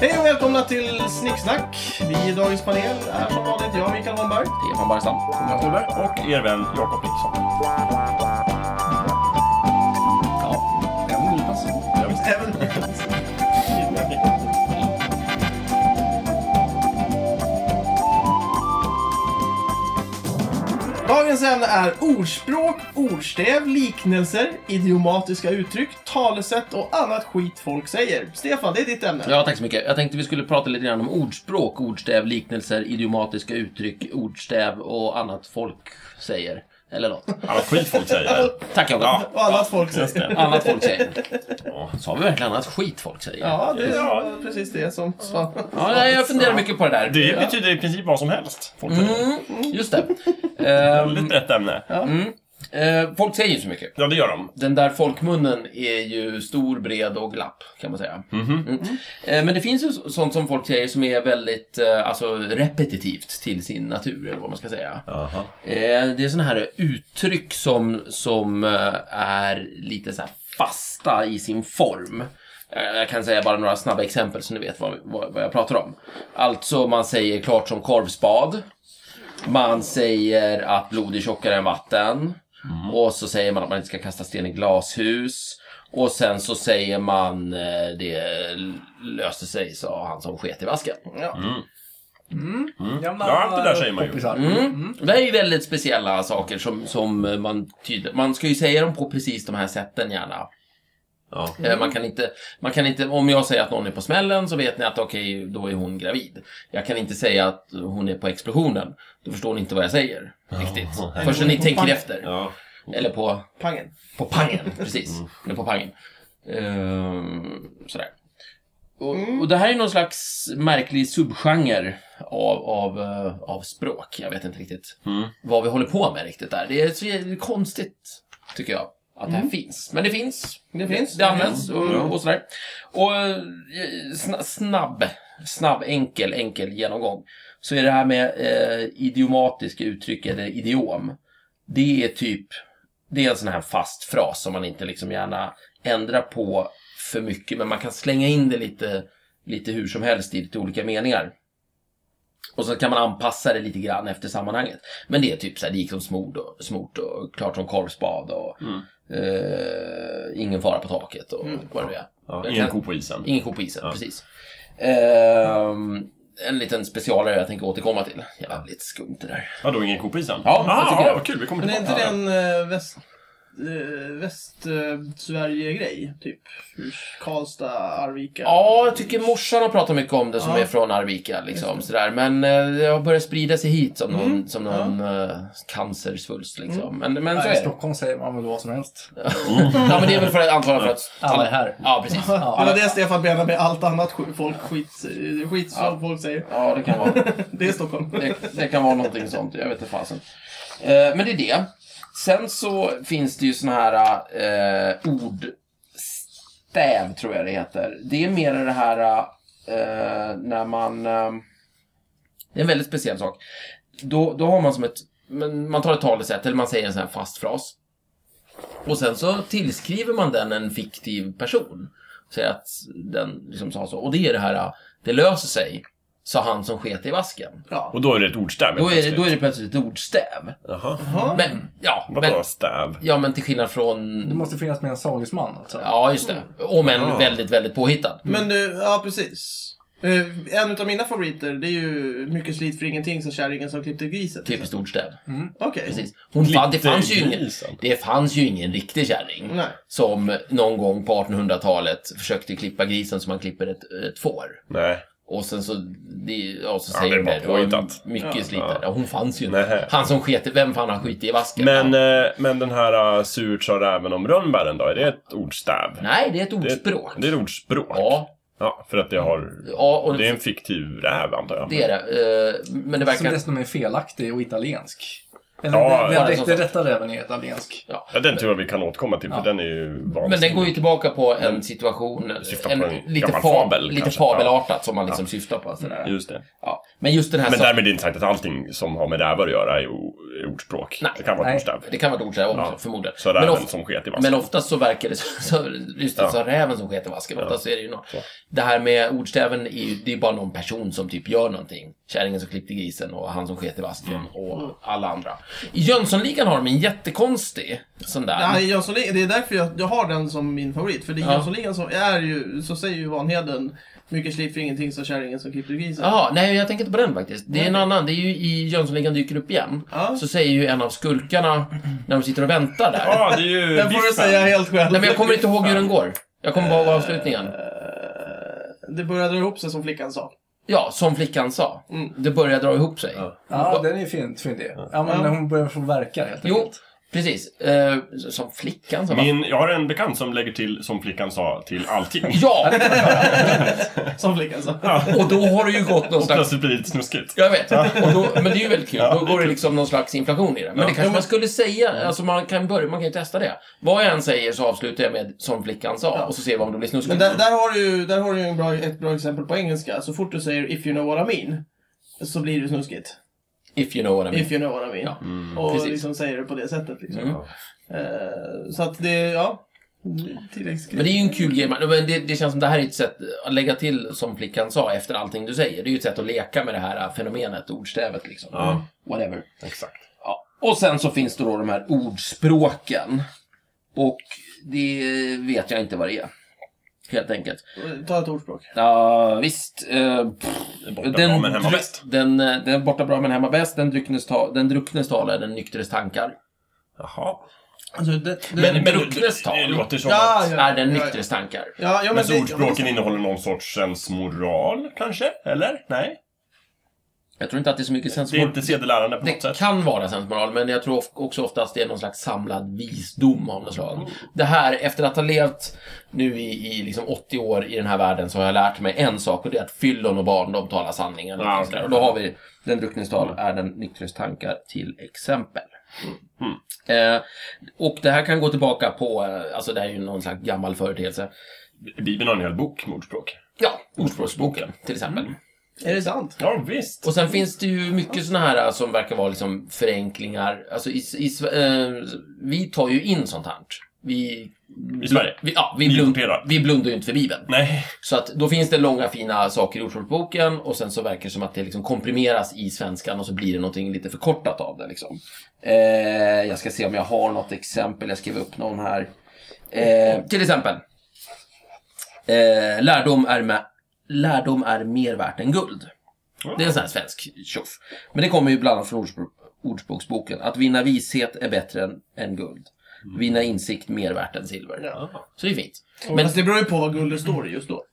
Hej och välkomna till Snicksnack. Vi i dagens panel är som vanligt jag, Mikael Holmberg. Stefan Barstam. Thomas Holmberg. och er vän Jakob Nilsson. Ja. Även du passar. Även du passar. Dagens ämne är ordspråk, ordstäv, liknelser, idiomatiska uttryck, talesätt och annat skit folk säger. Stefan, det är ditt ämne. ja, tack så mycket. Jag tänkte vi skulle prata lite grann om ordspråk, ordstäv, liknelser, idiomatiska uttryck, ordstäv och annat folk säger. Eller något. Alla skit folk säger. Tack Jakob. Ja. Och annat folk Just säger. det. Annat folk säger. Ja. Sa vi verkligen annat skit folk säger? Ja, det är precis det som Svante... Ja, nej, jag funderar mycket på det där. Det betyder i princip vad som helst. Folk säger. Mm, just det. Ehm, Väldigt brett ämne. mm. Eh, folk säger ju så mycket. Ja, det gör de. Den där folkmunnen är ju stor, bred och glapp, kan man säga. Mhm. Mm. Eh, Men det finns ju sånt som folk säger som är väldigt eh, alltså, repetitivt till sin natur, eller vad man ska säga. Aha. Eh, Det är sådana här uttryck som, som eh, är lite så här fasta i sin form. Eh, Jag kan säga bara några snabba exempel så ni vet vad, vad, vad jag pratar om. Alltså, man säger klart som korvspad. Man säger att blod är tjockare än vatten. Och så säger man att man inte ska kasta sten i glashus. Och sen så säger man eh, det löste sig, sa han som sket i vasken. Ja. Gamla Ja, allt det där säger man ju. kompisar. Mm. Det här är ju väldigt speciella saker som, som man tydligt... Man ska ju säga dem på precis de här sätten gärna. Ja. Eh, Man, kan inte, man kan inte... Om jag säger att någon är på smällen så vet ni att okej, då är hon gravid. Jag kan inte säga att hon är på explosionen. Då förstår ni inte vad jag säger. Riktigt. nej. Först när ni På tänker pangen. efter. Ja. Eller på, Pangen. på pangen, precis. Eller på pangen. Ehm, sådär. Och, och det här är någon slags märklig subgenre av, av, eh, av språk. Jag vet inte riktigt Mm. vad vi håller på med riktigt där. Det är så jävla konstigt, tycker jag, att det här finns. Men det finns. Det finns. Det används Ja. och, och sådär. Och eh, sna- snabb, snabb, enkel, enkel genomgång. Så är det här med eh, idiomatiska uttryck eller idiom. Det är typ, det är en sån här fast fras som man inte liksom gärna ändrar på för mycket. Men man kan slänga in det lite, lite hur som helst i lite olika meningar. Och så kan man anpassa det lite grann efter sammanhanget. Men det är typ så här, det gick som smord och, smort och klart som korvspad och Mm. eh, ingen fara på taket och vad det nu är. Ja. Jag Ingen kan- ko på isen. Ingen ko på isen, Ja. precis. Ehm, en liten specialare jag tänker återkomma till. Jävligt skumt det där. Vadå, ingen ko på isen? Ja, jag tycker ah, det. vad kul. Vi kommer Men är inte tillbaka. det en eh, väst... eh, Västsverige-grej? Typ Karlstad, Arvika? Ja, jag tycker morsan har pratat mycket om det som Ja. är från Arvika. Liksom, sådär. Men eh, det har börjat sprida sig hit som någon, som någon eh, cancersvulst. Liksom. Men, men så Nej, I är det. Stockholm säger man väl vad som helst. Ja, men det är väl för att antagligen för att Alla är här. Ja, precis. Ja, Det var det Stefan menar med allt annat skit, folk, skit, skit som Ja. folk säger. Ja, det kan vara. Det är Stockholm. det, det kan vara någonting sånt, jag vet inte fasen. Eh, men det är det. Sen så finns det ju såna här eh, ordstäv, tror jag det heter. Det är mer det här eh, när man... Eh, det är en väldigt speciell sak. Då, då har man som ett... Men man tar ett talesätt, eller man säger en sån här fast fras. Och sen så tillskriver man den en fiktiv person. Säger att den liksom sa så. Och det är det här, det löser sig, sa han som sket i vasken. Ja. Och då är det ett ordstäv. Då är, det, plötsligt. då är det plötsligt ett ordstäv. Jaha. Ja. Men, ja, men, Vadå stäv? ja, men till skillnad Det från... måste finnas med en sagesman alltså. Ja, just det. Om en Ja. väldigt, väldigt påhittad. Men du, ja precis. Eh, En utav mina favoriter, det är ju Mycket slit för ingenting som kärringen som klippte grisen. Typiskt ordstäv. Okej. Typ. Precis. Hon fan, det, Lite fanns ju ingen, grisen. det fanns ju ingen riktig kärring Nej. som någon gång på 1800-talet försökte klippa grisen som man klipper ett, ett får. Nej. Och sen så, det, ja, så Ja, säger det är de bara det. Det var påhittat. mycket Ja. ja, slitare. Hon fanns ju Nej. inte. Han som sket i- vem fan han skit i vasken? Men, Ja. eh, men den här uh, surt sa räven om rönnbären då? Är det ett ordstäv? Nej, det är ett Det är ett- ordspråk. Det är ett ordspråk. Ja, Ja, för att jag har... ja och Det är en fiktiv räv, antar jag. det är det. Eh, Men det Som verkar... dessutom är felaktig och italiensk. Eller Ja, den, ja, den, det är den, så. rätta räven är italiensk. Ja. Ja, den tror jag vi kan återkomma till, för Ja. den är ju Men vansinnig. den går ju tillbaka på en situation, Mm. Syftar en, på en lite, gammal fabel, fabel, lite kanske. fabelartat som man liksom syftar på. Sådär. Just det. Ja. Men just den här Men saken- därmed är det inte sagt att allting som har med rävar att göra är, o- ordspråk. Nej, det kan vara ett nej. ordstäv. Det kan vara ett ordstäv också, Ja. förmodligen. Så Men räven of- som sket i Men vasken. oftast så verkar det så, så just det, Ja. så räven som sket i vasken. Oftast är det ju någon. Så. Det här med ordstäven, är ju, det är bara någon person som typ gör någonting. Kärringen som klippte grisen och han som sket i vasken Mm. och alla andra. I Jönssonligan har de en jättekonstig sån där. Nej, Jönssonligan, det är därför jag, jag har den som min favorit. För det är Ja. Jönssonligan som är ju, så säger ju Vanheden, mycket slipp för ingenting så kärringen som klippte grisen. Jaha, nej jag tänker inte på den faktiskt. Det är en annan, det är ju i Jönssonligan dyker upp igen. Ja. Så säger ju en av skurkarna när de sitter och väntar där. Ja, det är ju Den får du biffen. säga helt själv. Nej men jag kommer inte ihåg hur den går. Jag kommer bara ihåg avslutningen. Eh, Det började dra ihop sig som flickan sa. Ja, som flickan sa. Mm. Det börjar dra ihop sig. Ja. Ja, den är ju fin, fin det. Ja, men Ja. när hon börjar få verka helt Jo, enkelt. precis. Eh, som flickan sa. va? Min, jag har en bekant som lägger till, som flickan sa, till allting. Ja, Som flickan sa. och då har det ju gått någon Och slags... plötsligt blir det lite snuskigt. Jag vet, och då, men det är ju väldigt kul. Då går det liksom någon slags inflation i det. Men det kanske man skulle säga, alltså man kan börja, man kan ju testa det. Vad jag än säger så avslutar jag med som flickan sa och så ser vi om det blir snuskigt. Men där, där har du ju där har du ju en bra, ett bra exempel på engelska. Så fort du säger if you know what I mean, så blir det snuskigt. If you know what I mean. If you know what I mean. Mm. Ja, Och precis. liksom säger det på det sättet. Liksom. Mm. Eh, så att det, ja. Tilläggsgrej. Men det är ju en kul grej. man- Men det, det känns som det här är ett sätt att lägga till, som flickan sa, efter allting du säger. Det är ju ett sätt att leka med det här äh, fenomenet, ordstävet liksom. Ja. Whatever. Exakt. Ja. Och sen så finns det då de här ordspråken. Och det vet jag inte vad det är. Helt enkelt. Ta ett ordspråk. Ja, visst. eh, pff, Borta bra, men hemma dryck- bäst. Den, eh, den borta bra men hemma bäst. Den drucknes, ta, den drucknes tal är den nyktres tankar. Jaha. Alltså, det, det, Men- Men Drucknes tal. det låter som ja, att... ja, Är den ja, ja. nyktres tankar. Ja, ja, Men så det- ordspråken innehåller någon sorts sensmoral, kanske? Eller? Nej? Jag tror inte att det är så mycket Det är sensmoral. inte sedelärande på något Det sätt. kan vara sensmoral, men jag tror of- också oftast det är någon slags samlad visdom av något slag. Det här, efter att ha levt nu i, i liksom 80 år i den här världen så har jag lärt mig en sak och det är att fyllon och barn, de talar sanningen. Ja, och okej. Och då har vi den drucknes tal är den nyktres tankar till exempel. Mm. Eh, och det här kan gå tillbaka på, eh, alltså det här är ju någon slags gammal företeelse. Bibeln har en hel bok med ordspråk. Ja, Ordspråksboken till exempel. Är det sant? Ja, visst. Och sen finns det ju mycket såna här äh, som verkar vara liksom förenklingar. Alltså i, i, Sve- eh, vi tar ju in sånt här. Vi, I Sverige. vi, ja, vi, Vi blund, importerar. vi blundar ju inte för Bibeln. Nej. Så att då finns det långa fina saker i Ordspråksboken och sen så verkar det som att det liksom komprimeras i svenskan och så blir det någonting lite förkortat av det liksom. Eh, jag ska se om jag har något exempel. Jag skrev upp någon här. Eh, till exempel. Eh, lärdom, är med, lärdom är mer värt än guld. Det är en sån här svensk tjoff. Men det kommer ju bland annat från ordspr- Ordspråksboken. Att vinna vishet är bättre än, än guld. Vinna insikt mer värt än silver. Ja. Så det är fint. Men det beror ju på vad guldet står i just då.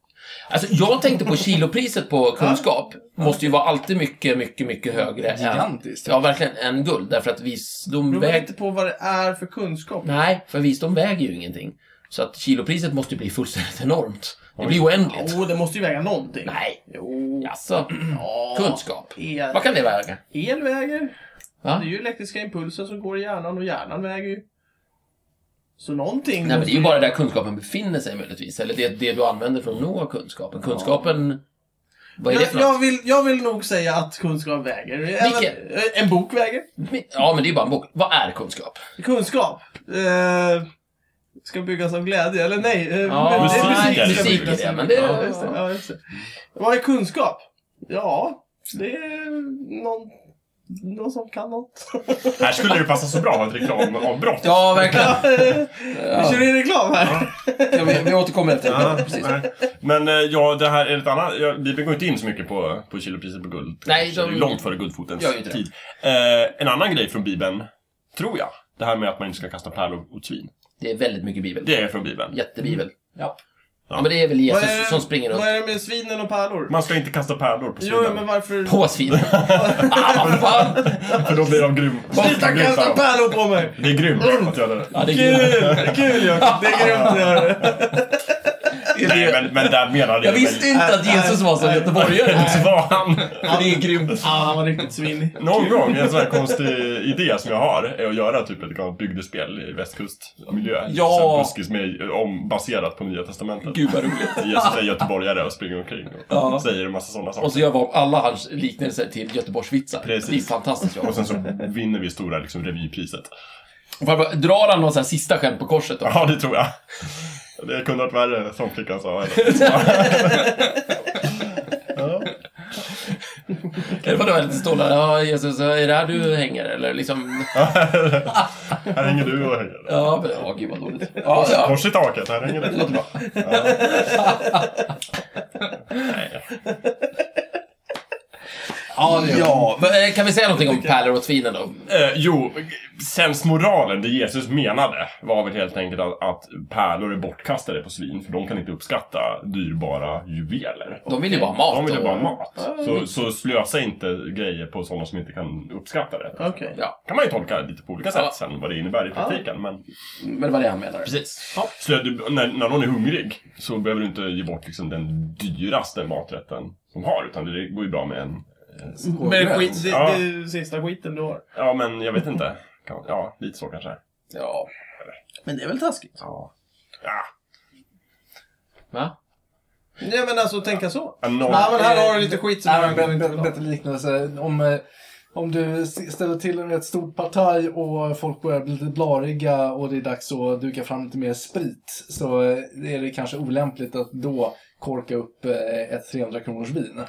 Alltså, jag tänkte på kilopriset på kunskap. Måste ju vara alltid mycket, mycket, mycket högre. än- Gigantiskt. Ja, verkligen. Än guld. Därför att Det visdom beror väger... lite på vad det är för kunskap. Nej, för visdom väger ju ingenting. Så att kilopriset måste ju bli fullständigt enormt. Det blir oändligt. Jo, det måste ju väga någonting. Nej. Jo. Alltså, Ja. kunskap. El. Vad kan det väga? El väger. Va? Det är ju elektriska impulser som går i hjärnan och hjärnan väger ju. Så någonting. Nej, men det är ju bara där kunskapen befinner sig möjligtvis. Eller det, det du använder för att nå kunskapen. Kunskapen... Vad är det jag, för något? jag, vill, jag vill nog säga att kunskap väger. Vilken? Även- eh, En bok väger. Ja, men det är ju bara en bok. Vad är kunskap? Kunskap. Eh, ska byggas av glädje, eller nej? eh, Ja, men det är musik är det. ska Musik är byggas det, av- men det- Ja, just det, ja, just det. Vad är kunskap? Ja, det är någon, någon som kan något. Här skulle det passa så bra att ha ett reklamavbrott. Ja, verkligen. Vi kör in reklam här. Ja, vi, vi återkommer efter. Ja, Precis. nej. Men eh, ja, det här är ett annat. Ja, Bibeln går inte in så mycket på, på kilopriset på guld. Nej, det är de- långt före guldfotens Gör ju inte det. tid. Eh, en annan grej från Bibeln, tror jag. Det här med att man inte ska kasta pärlor åt svin. Det är väldigt mycket bibel. Det är från Bibeln. Jättebibel. Ja. Ja, men det är väl Jesus Vad är- som springer runt Vad är det med svinen och pärlor? Man ska inte kasta pärlor på Jo, svinen. men varför? på svinen. ah, vad fan! För då blir de grym. Sluta grymta kasta då. pärlor på mig! Det är grymt att göra det. Ja, det är Kul! Kul Jakob, det är grymt att göra det. Nej, men, men där menade Jag jag visste väl... inte att Jesus var som göteborgare. Så var han. Det är grymt. Ja, han var riktigt svinig. Någon gång, en sån här konstig idé som jag har, är att göra typ ett gammalt bygdespel i västkustmiljö. Ja. Sen Buskis med, om, baserat på Nya Testamentet. Gud vad roligt. Jesus är göteborgare och springer omkring och Ja. säger en massa sådana saker. Och så gör vi om alla hans liknelser till göteborgsvitsar. Precis. Det är fantastiskt jobb. Och sen så vinner vi stora liksom, revypriset. Farbror, Drar han någon sån här sista skämt på korset då? Ja, det tror jag. Det kunde varit värre, som flickan sa. Ja. Eller vadå, väldigt stolar? Ja, Jesus, är det här du hänger eller liksom? Här hänger du och hänger. Ja, men, ja gud vad dåligt. Ja, ja. Kors i taket, här hänger du. bra. Ja, det gör ja. Ja, men, eh, kan vi säga någonting om pärlor och tvinen då? Eh, jo, sensmoralen, det Jesus menade, var väl helt enkelt att, att pärlor är bortkastade på svin, för de kan inte uppskatta dyrbara juveler. De vill ju bara ha mat. De vill ju och- bara ha mat. Så, så slösa inte grejer på sådana som inte kan uppskatta det. Okej. Ja, kan man ju tolka lite på olika Ja. sätt sen, vad det innebär i praktiken. Men men det var det han menade. Precis. Så att du, när, när någon är hungrig så behöver du inte ge bort liksom, den dyraste maträtten de har, utan det går ju bra med en... Men skit, det, Ja. det är sista skiten du har. Ja, men jag vet inte. Kan- Ja, lite så kanske. Ja. Men det är väl taskigt? Ja. Ja, Va? Nej, men alltså tänka så. en noll. Ja, men här har du lite skit som Eh, Nej, men jag bättre, inte bättre, vill ha. bättre liknelse. Om, eh, om du s- ställer till med ett stort partaj och folk börjar bli lite blariga och det är dags att duka fram lite mer sprit så eh, är det kanske olämpligt att då korka upp eh, ett 300 kronors vin.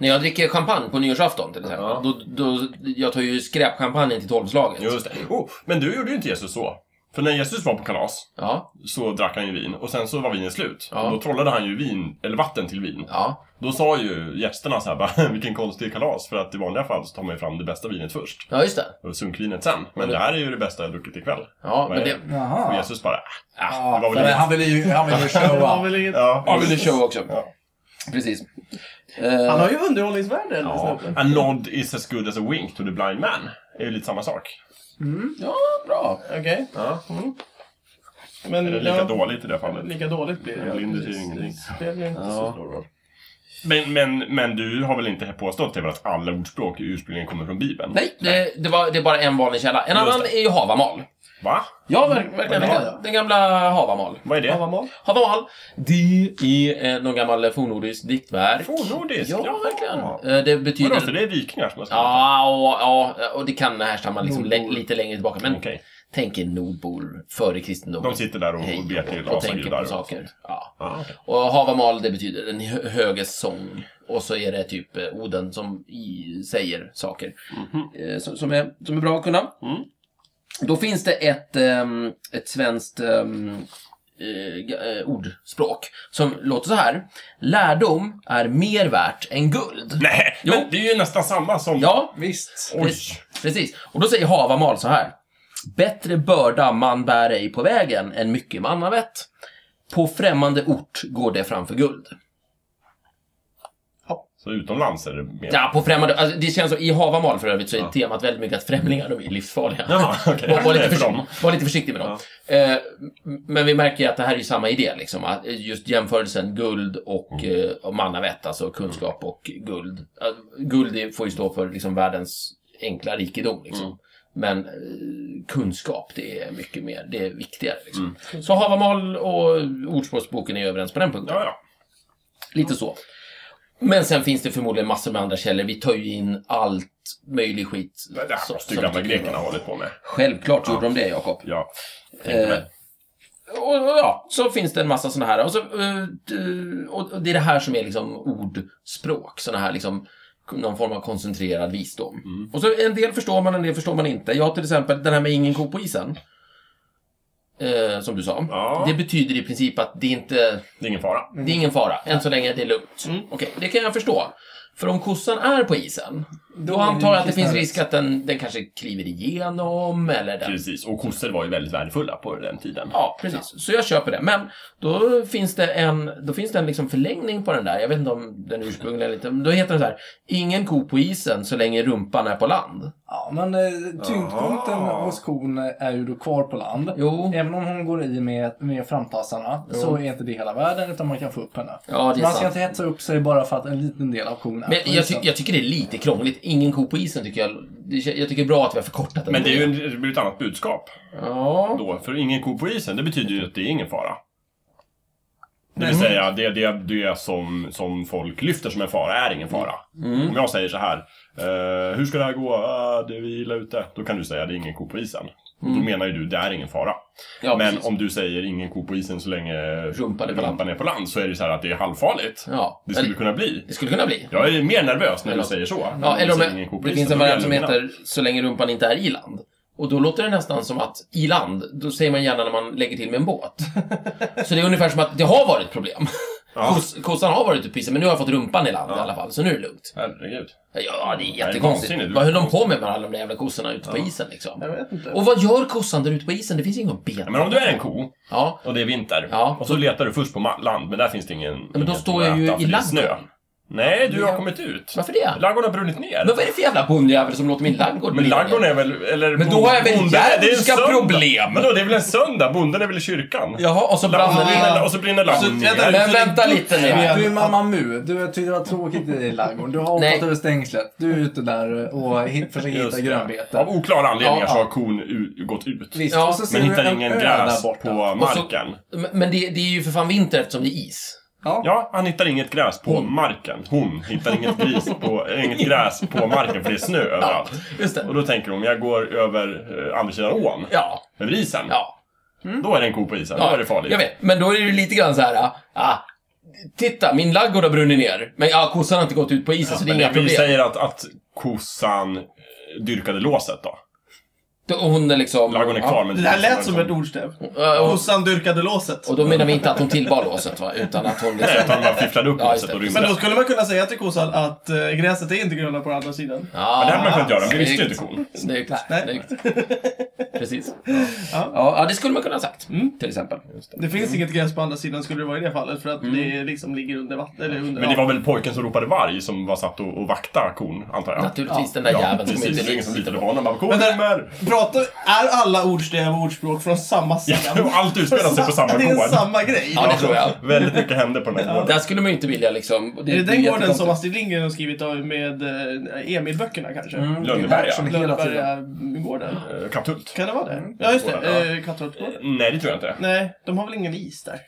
När jag dricker champagne på nyårsafton till exempel, Ja. då, då, jag tar ju skräpchampagnen till tolvslaget. Just det. Oh, men du gjorde ju inte Jesus så. För när Jesus var på kalas Ja, så drack han ju vin och sen så var vinet slut. Ja. Och då trollade han ju vin, eller vatten till vin. ja. Då sa ju gästerna så här bara, vilken konstig kalas. För att i vanliga fall så tar man ju fram det bästa vinet först Ja, just det. och sunkvinet sen. Men det här är ju det bästa jag druckit ikväll. Ja, Vad men är det... Och Jaha. Jesus bara, "Ah, Ja, det var väl men det." han ville ju, han ville ju Det var showa. väl inget... Ja, Ja, men det show också. Ja. Precis. Han Eh, har ju underhållningsvärde, den Ja, snubben. a nod is as good as a wink to the blind man. Det är ju lite samma sak. ja, bra. Okej. Ja. Men Eller lika dåligt i det fallet. lika dåligt blir det. Ja, Lind betyder precis. ingenting. Det spelar ju inte så stor roll. Men, men, men du har väl inte påstått det, väl att alla ordspråk ursprungligen kommer från Bibeln? Nej, det, det, var, det är bara en vanlig källa. En annan är ju havamal. Va? Ja, ver- verkligen. Ja, Den, ja. den gamla havamal. Vad är Ja, det? vad mal? Havamal, det är eh, någon gammal fornnordisk diktverk. Fornnordisk? Ja, verkligen. Vadå, Eh, Det betyder... så det är vikingar som har skrivit det? Ja, och, ja, och det kan härstamma liksom lä- Nordbor. lite längre tillbaka. Men Okej. tänk er nordbor före kristendomen. De sitter där och, och ber till och tänker asagudar. på och sånt. saker. Ja. Ja, okej. Och Havamal, det betyder den hö- höges sång. Och så är det typ eh, Oden som i, säger saker eh, som, som, är, som är bra att kunna. Mhm. Mm. Då finns det ett, ehm, ett svenskt ehm, eh, g- eh, ordspråk som låter så här. Lärdom är mer värt än guld. Nej, Jo. men det är ju nästan samma som... Ja, Visst. Oj! Precis. Och då säger Havamal så här. Bättre börda man bär ej på vägen än mycket mannavett. På främmande ort går det framför guld. Så utomlands är det mer... Ja, på främmande... Alltså, det känns som, I Havamal för övrigt så är Ja. temat väldigt mycket att främlingar, de är livsfarliga. Jaha, okej. Var, var, Det lite är för försiktig, dem. var lite försiktig med dem. Eh, m- men vi märker ju att det här är ju samma idé, liksom, att just jämförelsen guld och, Mm. eh, och mannavett, alltså kunskap och guld. Eh, guld är- får ju stå för liksom, världens enkla rikedom. Liksom. Mm. Men eh, kunskap, det är mycket mer, det är viktigare. Liksom. Så Havamal och ordspråksboken är överens på den punkten. Mm. Ja, ja. Lite så. Men sen finns det förmodligen massor med andra källor. Vi tar ju in allt möjlig skit. Det där som- måste ju som gamla vi tycker är grekerna bra. ha hållit på med. Självklart gjorde de det, Jakob. Ja. Eh, Tänkte väl. Och, och ja, så finns det en massa såna här. Och, så, eh, d- och och det är det här som är liksom ordspråk. Såna här liksom någon form av koncentrerad visdom. Och så en del förstår man, en del förstår man inte. Jag till exempel, den här med ingen ko på isen. Eh, som du sa. Ja. Det betyder i princip att det är inte Det är ingen fara. det är ingen fara, än så länge det är lugnt. Okej, det kan jag förstå. För om kossan är på isen, Då antar jag att det mycket finns snarare. risk att den, den kanske kliver igenom eller den... Precis, och kossor var ju väldigt värdefulla på den tiden. Ja, precis. Så jag köper det. Men då finns det en, då finns det en liksom förlängning på den där. Jag vet inte om den ursprungliga lite. men Då heter den så här. Ingen ko på isen så länge rumpan är på land. Ja, men eh, tyngdpunkten Aha. hos kon är ju då kvar på land. Jo. Även om hon går i med, med framtassarna så är inte det hela världen utan man kan få upp henne. Ja, det är man ska sant. inte hetsa upp sig bara för att en liten del av kon Men är på jag, ty isen. jag tycker det är lite krångligt. Ingen ko på isen tycker jag. det kä- Jag tycker det är bra att vi har förkortat den. Men det är ju en, det blir ett annat budskap Ja. då. För ingen ko på isen, det betyder ju att det är ingen fara. Det vill Nej. säga, det, det, det som, som folk lyfter som en fara är ingen fara. Mm. Om jag säger så här, eh, hur ska det här gå? Uh, det är vi illa ute. Då kan du säga, det är ingen ko på isen. Då menar ju du, det är ingen fara. Mm. ja Men precis. om du säger ingen ko på isen så länge Rumpan är på land. rumpan är på land så är det så här att det är halvfarligt. Ja. Det skulle Eller- kunna bli. Det skulle kunna bli. Jag är mer nervös när Eller- du säger Mm. så. Ja, eller om Säger ingen ko jag, på det isen, finns en då blir jag variant som lugnad. heter Så länge rumpan inte är i land. Och då låter det nästan som att i land, då säger man gärna när man lägger till med en båt. Så det är ungefär som att det har varit problem. Ja. Kos, kossan har varit uppe i isen, men nu har jag fått rumpan i land i alla fall, så nu är det lugnt. Herregud. Ja, det är är jättekonstigt. vansinnigt. Vad höll de på med med alla de där jävla kossorna ute på isen liksom? Jag vet inte. Och vad gör kossan där ute på isen? Det finns ju inget Ja, ben. Men om du är en ko Ja, och det är vinter Ja. och så letar du först på ma- land men där finns det ingen men då ingen står jag ju äta, för i det är ladugården. Nej, du Ja. har kommit ut. varför det? Ladugården har brunnit ner. Men vad är det för jävla bondjävel som låter min ladugård Men brinna? ladugården är väl... Eller Men då har jag väl bonden- det är en djävulska söndag. problem. Men då, det är väl en söndag? Bonden är väl i kyrkan? Jaha, och så brann Ladugården Alltså, den ner. brinner- Och så brinner ladugården Så- vänta, ner. Men vänta lite nu här. Du är Mamma Mu, du tyckte det var tråkigt i ladugården. Du har Nej. hoppat över stängslet. Du är ute där och hit, försöker hitta Just det. grönbete. Av oklara anledningar Ja, så ja. har kon u- gått ut. Visst, Ja. och så ser Men du hittar en ingen ö gräs där borta. på Och så- marken. Men- Men det, det är ju för fan vinter eftersom det är is. Ja, han hittar inget gräs på marken. Hon hittar inget, gris på, eh, inget gräs på marken för det är snö överallt. Just det. Och då tänker hon, jag går över eh, andra sidan ån. Ja, Över isen. ja. Då är det en ko på isen. ja. Då är det farligt. Jag vet, men då är det ju lite grann så här, ah, ah, titta, min ladugård har brunnit ner. Men ja, kossan har inte gått ut på isen, så det är Men inga vi problem. säger att, att kossan eh, dyrkade låset då. Då- Och hon är liksom... Ladugården är kvar men... Det där lät som ett ordstäv. Ja, och, Kossan dyrkade låset. och då menar vi inte att hon tillbar låset, va? Utan att hon Nej, liksom... utan man fifflade upp Ja, just låset det. och rymde. Men Men då skulle man kunna säga till kossan att eh, gräset är inte gröna på andra sidan. Ah, det hade man kunnat göra, men det snyggt. visste ju inte kon. Snyggt, Nej. snyggt. Precis. Ja. ja, det skulle man kunna ha sagt. Till exempel. Mm. Det finns inget gräs på andra sidan skulle det vara i det fallet för att det liksom ligger under vatten. Eller under Mm. Men det var väl pojken som ropade varg som var satt och, och vakta kon, antar jag? Naturligtvis, den där Ja, jäveln som precis. Det är inte ingen som sitter litade på på honom. Bara, kon Men där- rymmer! Pratar, är alla ordstäv och ordspråk från samma Ja, sida? och allt utspelar sig på samma Det är gård. samma grej. Ja, det tror jag. Väldigt mycket hände på den här gården. Där skulle man ju inte vilja liksom... Är det den gården jättekonstigt. som Astrid Lindgren har skrivit av med eh, Emil-böckerna kanske? Mm, det är Lönneberga. action hela tiden. Lönneberga-gården? Eh, Katthult? Kan det vara det? Ja, just Båda, det. Eh, Kattorpsgården. Nej, det tror jag inte. Nej, de har väl ingen is där?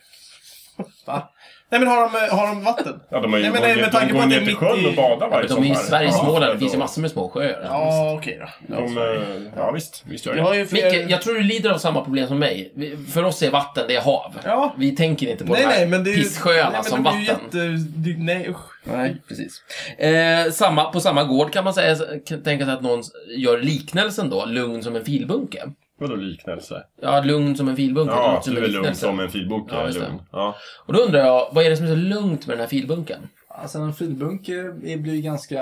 Va? Nej, men har de, eh, har de vatten? Ja, de har ju Nej, men, de, nej, med tanke de på går att det ju ner är till mitt sjön i- och badar Ja, varje men de är ju i sommar. Sverige, i Ja, Småland. Det och- finns ju massor med små sjöar. Ja, okej då. De, eh, ja, visst. Visst gör Jag jag har det. ju fler... Micke, jag tror du lider av samma problem som mig. Vi- För oss är vatten, det är hav. Ja. Vi tänker inte på Nej, de här nej, men det är ju... pisssjöarna nej, men de som vatten. är ju jätte... det- Nej, usch. Nej, precis. Eh, samma, på samma gård kan man säga, kan tänka sig att någon gör liknelsen då, lugn som en filbunke. Vadå liknelse? Ja, lugn som en filbunke. det Ja, låter du en är lugn liknelse. som en filbunke. Ja, är just det. lugn. Ja. Och då undrar jag, vad är det som är så lugnt med den här filbunken? Alltså en filbunke är- blir ju ganska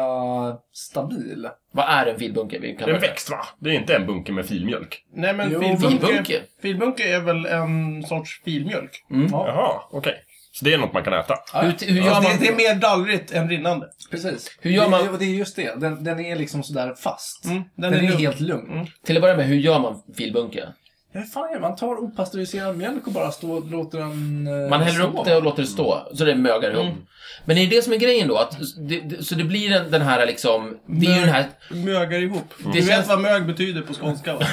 stabil. Vad är en filbunke? Vi kan Det är en växt, va? Det är inte en bunke med filmjölk. Nej, men Jo, filbunke... filbunke. Filbunke är väl en sorts filmjölk? Ja, Jaha, okej. Så det är något man kan äta? Hur, hur gör Fast man? det, det är mer dallrigt än rinnande. precis. Hur gör man- Det, och det är just det. Den, den är liksom sådär fast. Mm, den den, är är, lugn. helt lugn. Till att börja med, hur gör man filbunke? Ja, Hur fan är det? Man tar opastöriserad mjölk och bara stå, låter den eh, Man häller stå. upp det och låter det stå, så det mögar ihop. Men är det det som är grejen då? Att det, det, så det blir den, den här liksom... Det är ju den här... Mögar ihop. Du Det vet känns- vad mög betyder på skånska, va?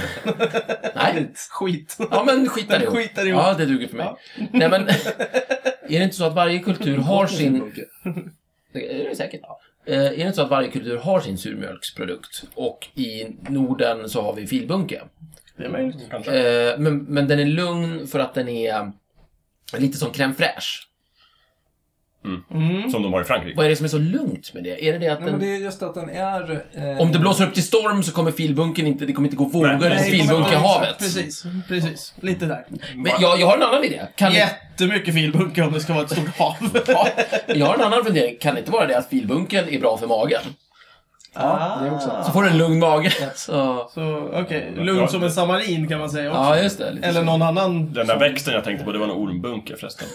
Nej. Skit. Ja, men skita Den ihop. skitar ihop. Ja, det duger för mig. Nej, men... Är det inte så att varje kultur har sin... Filbunke. Det är det säkert. Eh, Är det inte så att varje kultur har sin surmjölksprodukt? Och i Norden så har vi filbunke. Det är möjligt. Kanske. Eh, Men, men den är lugn för att den är lite som crème fraîche. Som de har i Frankrike. Vad är det som är så lugnt med det? Är det det att Nej, men den... det är just att den är... Eh, Om det blåser upp till storm så kommer filbunken inte, det kommer inte gå vågor i nej, filbunkehavet. Precis, precis. Lite där. Men jag, jag har en annan idé. Kan Jättemycket filbunke om det ska vara ett stort hav. jag har en annan fundering. Kan det inte vara det att filbunken är bra för magen? Ja, det också. Ah. Så får du en lugn mage. Så, Så okej, lugn som en samarin kan man säga också. ja, just det. Lite Eller så. någon annan. Den där växten jag tänkte på, det var en ormbunke förresten.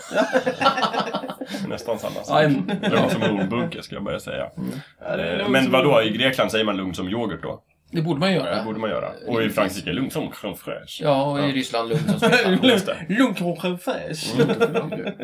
Nästan samma Ja, sak. en, Det var som en ormbunke, ska jag börja säga. Ja, det är Eh, lugn Men som- vadå, i Grekland säger man lugnt som yoghurt då? det borde man Det göra. borde man göra. Och i Frankrike, lugnt som crème fraîche. Ja, och i Ryssland lugn som smettan. Just det. Lugn som en färs.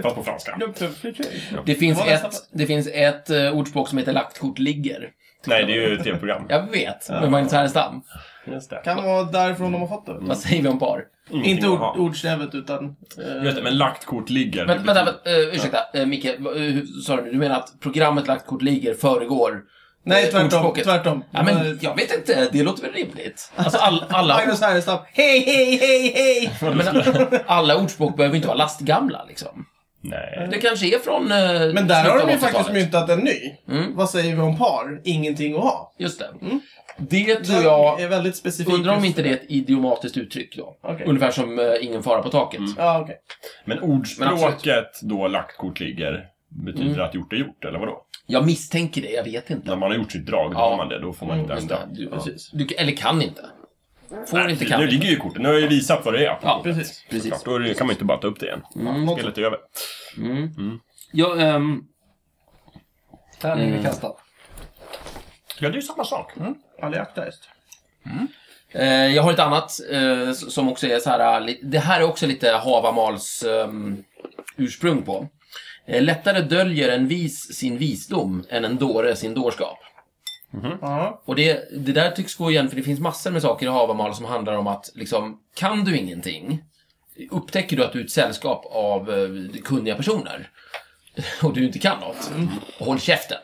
Fast på franska. Lugn som en färs. Det finns, Vad var nästa ett, det finns ett eh, ordspråk som heter lagt kort ligger. Nej, det är ju ett tv-program. Jag vet, med Magnus Härenstam. Just det. Kan vara därifrån de har fått det. Vad säger vi om par? Ingenting Inte att ord, ha. ordstävet utan... eh, Just det, men lagt kort ligger. Vänta, vänta, vänta eh, ursäkta, eh, Micke. vad- eh, hur sa du? Du menar att programmet lagt kort ligger föregår nej, tvärtom. Eh, ordspråket. Tvärtom. Eh, Ja, men jag vet inte, det låter väl rimligt? Alltså all, alla, Magnus Härenstam. Hej, hej, hej, hej! jag menar, alla ordspråk behöver inte vara lastgamla liksom. Nej. Det kanske är från eh, Men där har de ju slutet av faktiskt 80-talet. myntat en ny. Mm. Vad säger vi om par? Ingenting att ha. Just det. Det tror jag, Mm. är väldigt specifikt. undrar om just- inte det är ett idiomatiskt uttryck då. Okej. Mm. Ungefär som eh, ingen fara på taket. Ja, okej. Men Men ordspråket då lagt kort ligger betyder Mm. att gjort är gjort, eller vadå? Jag misstänker det, jag vet inte. När man har gjort sitt drag, då Ja. Mm, har man det. Då får man inte Just ändra. det. Du, du, eller kan inte. Får inte, kan Nu inte. ligger ju korten. Nu har jag ju visat vad det är. Ja, Precis. precis. Mm. Såklart, Då är det- kan man ju inte bara ta upp det igen. Spelet är över. Ja, ehm, Mm. Tärning är kastad. Ja, det är ju samma sak. Ali Akta just. eh, jag har ett annat eh, s- som också är så här... eh, li- Det här är också lite havamals ehm, ursprung på. Eh, lättare döljer en vis sin visdom än en dåre sin dårskap. Ja. Och det, det där tycks gå igen, för det finns massor med saker i Havamal som handlar om att liksom, kan du ingenting, upptäcker du att du är ett sällskap av eh, kunniga personer och du inte kan något, håll käften.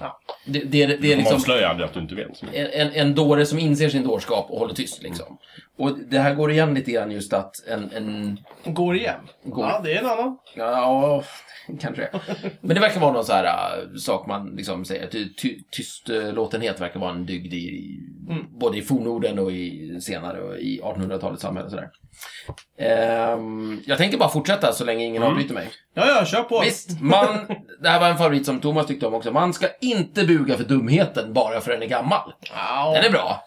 Ja. Det, det, är- det är Man liksom Mm. avslöjar aldrig att du inte vet. en, en- en dåre som inser sin dårskap och håller tyst. Liksom. Och det här går igen lite grann just att en, en Går igen. Går. Ja, det är en annan. Ja, kanske det. Men det verkar vara någon så här äh, sak man liksom säger. Ty, ty, tystlåtenhet verkar vara en dygd i, både i fornorden och i senare och i 1800-talets samhälle. och Så där. Ehm, jag tänker bara fortsätta så länge ingen avbryter mig. Ja, ja, kör på. Visst, man, det här var en favorit som Thomas tyckte om också. Man ska inte buga för dumheten bara för den är gammal. Ja, Den är bra.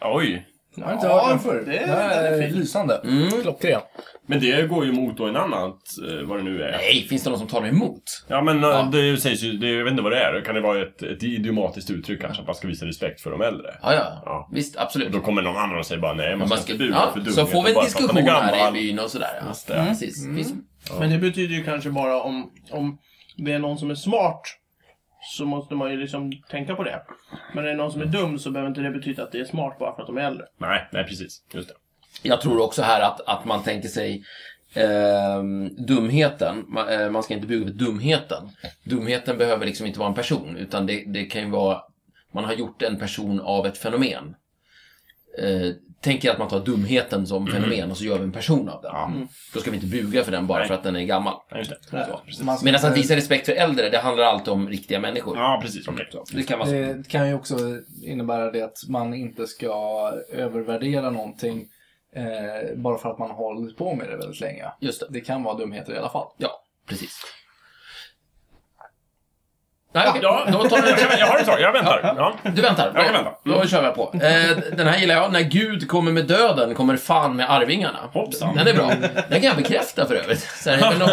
Oj. Jag har inte hört den förr. det- Den här den är är fin. lysande. Mm. Klockren. Men det går ju emot då en annan, eh, vad det nu är. Nej, finns det någon som talar emot? Ja, men eh, det sägs ju, det, jag vet inte vad det är. Kan det vara ett, ett idiomatiskt uttryck kanske, att man ska visa respekt för de äldre? Ja, ja. Ja. Visst, absolut. Då kommer någon annan och säger bara nej, man, Man ska ska, inte buga ja, för dumhet. så får vi en bara för att man är diskussion här i gammal. byn och sådär. Ja. Just det. Mm. Precis. Finns, Men det betyder ju kanske bara om, om det är någon som är smart så måste man ju liksom tänka på det. Men är det någon som är dum så behöver inte det betyda att det är smart bara för att de är äldre. Nej, nej precis. Just det. Jag tror också här att, att man tänker sig ehm, dumheten. Man, eh, man ska inte bygga för dumheten. Dumheten behöver liksom inte vara en person, utan det, det kan ju vara... Man har gjort en person av ett fenomen. Eh, tänk er att man tar dumheten som Mm. fenomen och så gör vi en person av den. Mm. Då ska vi inte buga för den bara för att den är gammal. Nej, just det. Ja, precis. Man ska- Medan att visa respekt för äldre, det handlar alltid om riktiga människor. Ja, precis. Okej. Det kan vara så. Det kan ju också innebära det att man inte ska övervärdera någonting eh, bara för att man har hållit på med det väldigt länge. Just det. Det kan vara dumheter i alla fall. Ja, precis. Nej, okej. Då tar vi Jag, jag har en sak, jag väntar. Ja. Du väntar. Jag kan Då- vänta. Då kör jag på. Eh, den här gillar jag. När Gud kommer med döden kommer fan med arvingarna. Hoppsan. Den är bra. Den kan jag bekräfta för övrigt. Så här, men om,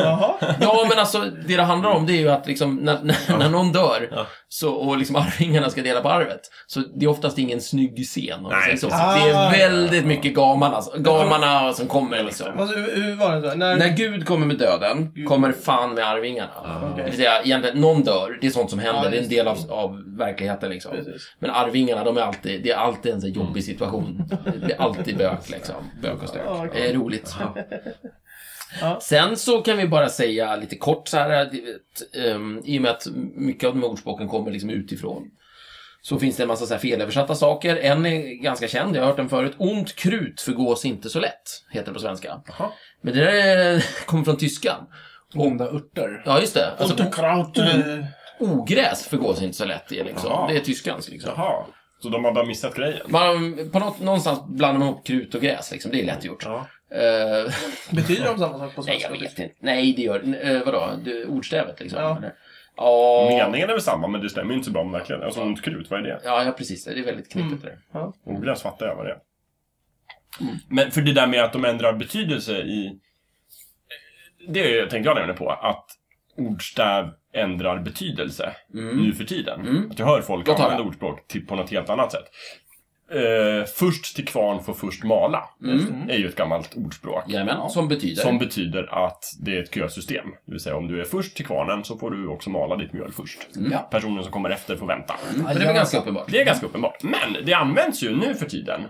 ja, men alltså det det handlar om det är ju att liksom, när, när, när någon dör så, och liksom arvingarna ska dela på arvet. Så det är oftast ingen snygg scen. Om Nej, Nej, säger så. precis. Det är Ah. väldigt mycket gamarna, alltså, gamarna som kommer liksom. Alltså, hur, hur var det? Så? När... När Gud kommer med döden kommer fan med arvingarna. Det vill säga, egentligen, någon dör, det är sånt som händer, Ja, det är en just del av, av verkligheten liksom. Precis. Men arvingarna, de är alltid, det är alltid en sån här jobbig situation. Det är alltid bök liksom. Mm. Bök och stök. Ja, Det är roligt. Ja. Sen så kan vi bara säga lite kort så här, du vet, ehm, i och med att mycket av de här ordspråken kommer liksom utifrån. Så finns det en massa så här felöversatta saker. En är ganska känd, jag har hört den förut. Ont krut förgås inte så lätt, heter det på svenska. Men det där är- kommer från tyskan. Onda örter. Ja, just det. Alltså, Autokraut. eh, ogräs förgås inte så lätt, det är liksom. Jaha. Det är tyskans liksom. Jaha. Så de har bara missat grejen? Man, på något, någonstans blandar man ihop krut och gräs, liksom. det är lätt gjort. Ja. Eh, Betyder de samma sak på nej, svenska? eh, jag vet inte. Nej, det gör uh, Vadå? Det, ordstävet liksom. Ja. Eller? Ja, Meningen är väl samma, men det stämmer ju inte så bra med verkligheten. Alltså, ont krut, vad är det? ja, ja, precis. Det är väldigt knepigt Mm. det där. Ogräs fattar jag vad det är. Men för det där med att de ändrar betydelse i... Det tänkte jag nämligen på, att ordstäv ändrar betydelse Mm. nu för tiden. Att jag hör folk Jag tar använda ordspråk till, på något helt annat sätt. Eh, först till kvarn får först mala, är ju ett gammalt ordspråk. Jajamän, som betyder. Som betyder att det är ett kösystem. Det vill säga om du är först till kvarnen så får du också mala ditt mjöl först. Ja. Personen som kommer efter får vänta. Men det är väl ganska uppenbart. Det är ganska uppenbart. Men det används ju nu för tiden,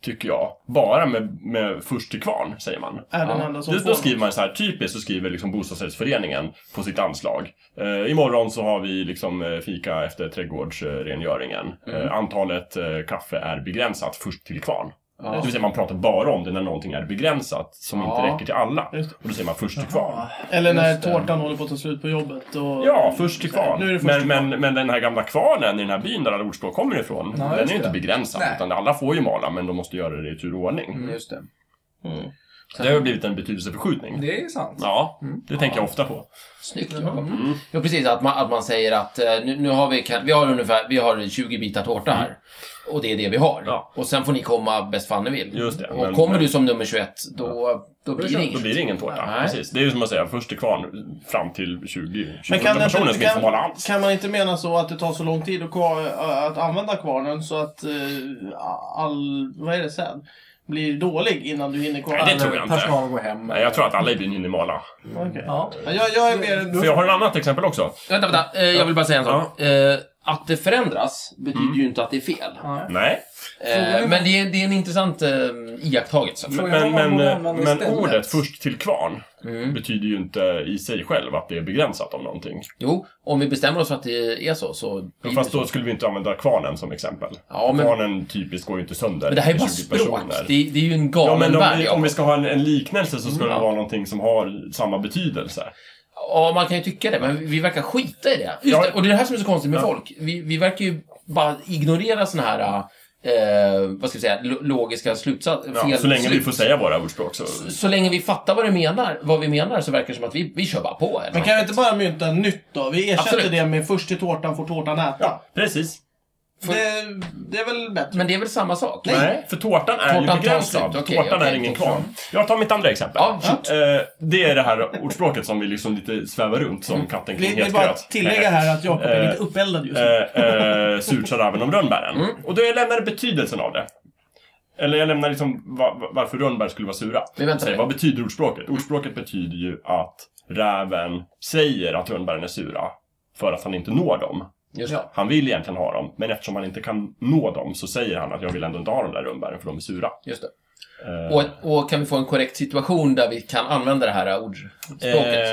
tycker jag, bara med, med först till kvarn, säger man. Även andra som Då, får då den. skriver man så här, typiskt så skriver liksom bostadsrättsföreningen på sitt anslag. Eh, imorgon så har vi liksom eh, fika efter trädgårdsrengöringen. Mm. Eh, antalet eh, kaffe är begränsat, först till kvarn. Ja. Det vill säga man pratar bara om det när någonting är begränsat som inte Ja. räcker till alla. Just det. Och då säger man först till kvarn. Eller när Just det. tårtan håller på att ta slut på jobbet. Och... Ja, först till Nu är kvarn. det först men, till men, men den här gamla kvarnen i den här byn där alla ordspråk kommer ifrån, Ja, den är just ju inte det. begränsad. Nej. Utan alla får ju mala, men de måste göra det i tur och ordning. Just det. Mm. Så det har ju blivit en betydelseförskjutning. Det är sant. Ja, det tänker jag ofta på. Snyggt Jakob. Mm. Mm. Ja, precis. Att man, att man säger att eh, nu, nu har vi, kan- vi har ungefär vi har 20 bitar tårta här. Och det är det vi har. Mm. Ja. Och sen får ni komma bäst fan ni vill. Just det, och men- kommer men- du som nummer 21, då, då blir det Då inget. blir det ingen tårta. Nej. Precis. Det är ju som att säga, först till kvarn fram till 20 Men 20 kan, personer som inte, inte får mala kan, alls. kan man inte mena så att det tar så lång tid att, kvar, att använda kvarnen så att eh, all, vad är det sen, blir dålig innan du hinner kvarnen? Nej, det tror jag inte. Personalen går hem. Nej, jag tror att alla i byn hinner mala. Okej. Ja. Ja, jag, jag är mer... För jag har ett annat exempel också. Vänta, vänta. Eh, jag vill bara säga en sak. Eh, att det förändras betyder Mm. ju inte att det är fel. Nej. Eh, men det är, Mm. det är en intressant eh, iakttagelse. Frågan är Men, vad men, eh, man använder men istället. ordet först till kvarn betyder ju inte i sig själv att det är begränsat av någonting. Jo, om vi bestämmer oss för att det är så, så... Men fast då skulle vi inte använda kvarnen som exempel. Ja, men- Kvarnen typiskt går ju inte sönder. Men det här är i bara 20 språk. personer. Det, är- det är ju en Ja, galen men om värld. vi, om vi ska ha en, en liknelse så ska det ja. vara någonting som har samma betydelse. Ja, man kan ju tycka det, men vi verkar skita i det. Just Ja. det. Och det är det här som är så konstigt med folk. Vi, vi verkar ju bara ignorera såna här, eh, vad ska vi säga, lo- logiska slutsatser. Ja, så länge vi får säga våra ordspråk så... Så länge vi fattar vad, det menar, vad vi menar så verkar det som att vi, vi kör bara på. Eller? Men kan vi inte bara mynta nytt då? Vi ersätter Absolut. det med först till tårtan får tårtan äta. Ja, precis. Det, det är väl bättre? Men det är väl samma sak? Nej, för tårtan är Tårtan ju tar begränsad. slut. Okej, tårtan okej, är ingen okej. kvarn. Jag tar mitt andra exempel. Ja, shoot. Eh, det är det här ordspråket som vi liksom lite svävar runt som Mm. katten kring Vi vill het bara gröt. tillägga här att Jakob är Eh, lite uppeldad just nu. Eh, eh, Surt sa räven om rönnbären. Mm. Och då jag lämnar betydelsen av det. Eller jag lämnar liksom va- va- varför rönnbär skulle vara sura. Vi väntar Säg, med. vad betyder ordspråket? Ordspråket betyder ju att räven säger att rönnbären är sura för att han inte når dem. Just det. Han vill egentligen ha dem, men eftersom han inte kan nå dem så säger han att jag vill ändå inte ha de där rönnbären för de är sura. Just det. Eh, Och, och kan vi få en korrekt situation där vi kan använda det här ordspråket?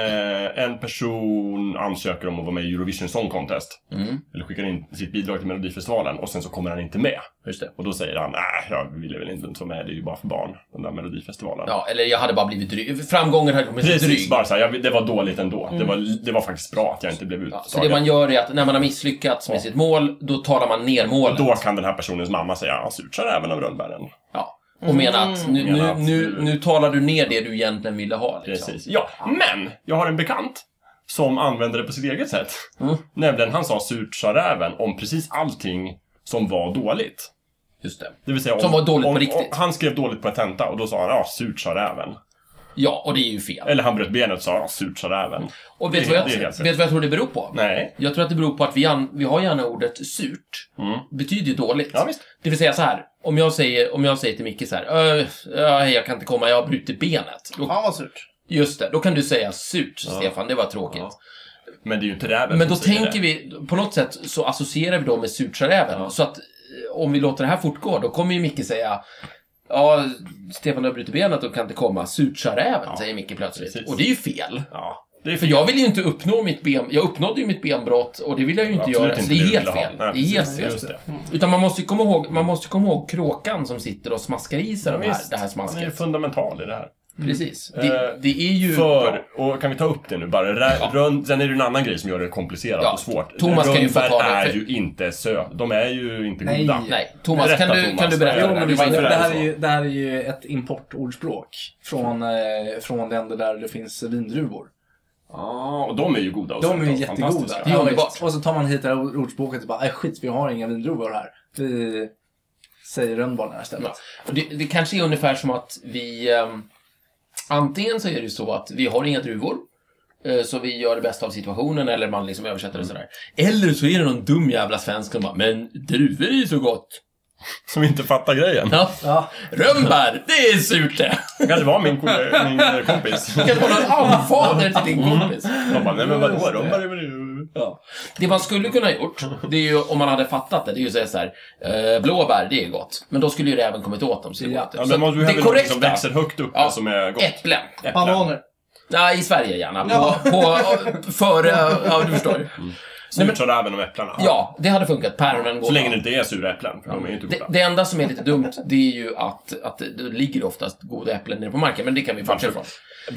Eh, en person ansöker om att vara med i Eurovision Song Contest. Mm, Eller skickar in sitt bidrag till Melodifestivalen och sen så kommer han inte med. Just det. Och då säger han, nej, jag ville väl inte vara med, det är ju bara för barn, den där Melodifestivalen. Ja, eller jag hade bara blivit dryg. Framgången hade kommit Precis, dryg. bara så här, jag, det var dåligt ändå. Det, var, det var faktiskt bra att jag inte blev Mm. Ja, uttagen. så det man gör är att när man har misslyckats med sitt mål, då talar man ner målet. Då kan den här personens mamma säga, ja, surt sa räven av rönnbären. Ja. Och menar att nu, Menar nu, att nu, du- nu talar du ner det du egentligen ville ha. Liksom. Precis. Ja, men jag har en bekant som använde det på sitt eget sätt. Mm. Nämligen, han sa surt sa räven om precis allting som var dåligt. Just det. Det vill säga om, Som var dåligt om, på riktigt. Om, han skrev dåligt på en tenta och då sa han ja, surt sa räven. Ja, och det är ju fel. Eller han bröt benet och sa ja, surt sa räven. Och Eh, det vet är- du vad, jag- det är helt vet rätt. du vad jag tror det beror på? Nej. Jag tror att det beror på att vi, an, vi har gärna ordet surt. Betyder ju dåligt. Mm. Ja, visst. Det vill säga så här, om jag säger, om jag säger till Micke så här, "Ö, ö, hej, jag kan inte komma, jag har brutit benet. Då, Fan vad surt. just det, då kan du säga surt, Stefan, det var tråkigt. Men det är ju inte räven Men då som säger tänker det. vi, på något sätt så associerar vi då med surt sa räven. Så att eh, om vi låter det här fortgå, då kommer ju Micke säga Ja, Stefan du har brutit benet och kan inte komma. Surt sa räven, säger Micke plötsligt. precis. Och det är ju fel. Ja. Det är För jag vill ju inte uppnå mitt ben... Jag uppnådde ju mitt benbrott och det vill jag ju inte Absolut göra. inte så det det är du helt vill ha. fel. Nej, det är helt precis. fel. Mm. Just det. Utan man måste ju komma ihåg, man måste komma ihåg kråkan som sitter och smaskar i sig de här, visst. det här Han är ju smasket. fundamental i det här. Precis. Eh, Det, det är ju... bra. För, och kan vi ta upp det nu bara? Rä, rön, sen är det en annan grej som gör det komplicerat Ja, och svårt. Thomas kan ju få Rönnbär ta det, är för- ju inte sö. De är ju inte Nej. goda. Nej, Thomas, Berätta, kan, du, Thomas. kan du berätta? Jo, om men det? det Du var inne var- på Det det. här, så? är ju, det här är ju ett importordspråk från, eh, från länder där det finns vindruvor. Ah, och de är ju goda. Och De är ju sånt. jättegoda. Fantastiska. Det är Ja, underbart. visst. och så tar man hit det här ordspråket och bara, "Äh, skit vi har inga vindruvor här. Vi säger rönnbarn här istället. Och Det, det kanske är ungefär som att vi... ehm, antingen så är det ju så att vi har inga druvor, eh, så vi gör det bästa av situationen, eller man liksom översätter det sådär. Eller så är det någon dum jävla svensk som bara, men druvor är ju så gott. Som inte fattar grejen. Ja. Ja. Rönnbär, det är surt det. Det kanske var min, kol- min eh, kompis. Det kanske var någon anfader till din Mm. kompis. De bara, nej men vadå? Just De det. bara, "Men det är ju-" Ja. Det man skulle kunna ha gjort, det är ju om man hade fattat det, det är ju att säga så här, eh, blåbär, det är gott. Men då skulle ju det även kommit åt dem, så det går Ja. inte. ja, Så men man det behöver något korrekta, som växer högt upp Ja. som är gott. äpplen. Äpplen. Bananer. Nej, i Sverige gärna. På, Ja. på, före, ja du förstår. ju. Nej, men- Surt sa räven om äpplena. Ja, det hade funkat. Päronen går Så länge det bra. inte är sura äpplen, för de är ju inte det, goda. det enda som är lite dumt, det är ju att, att det det ligger oftast goda äpplen nere på marken, men det kan vi bortse ifrån.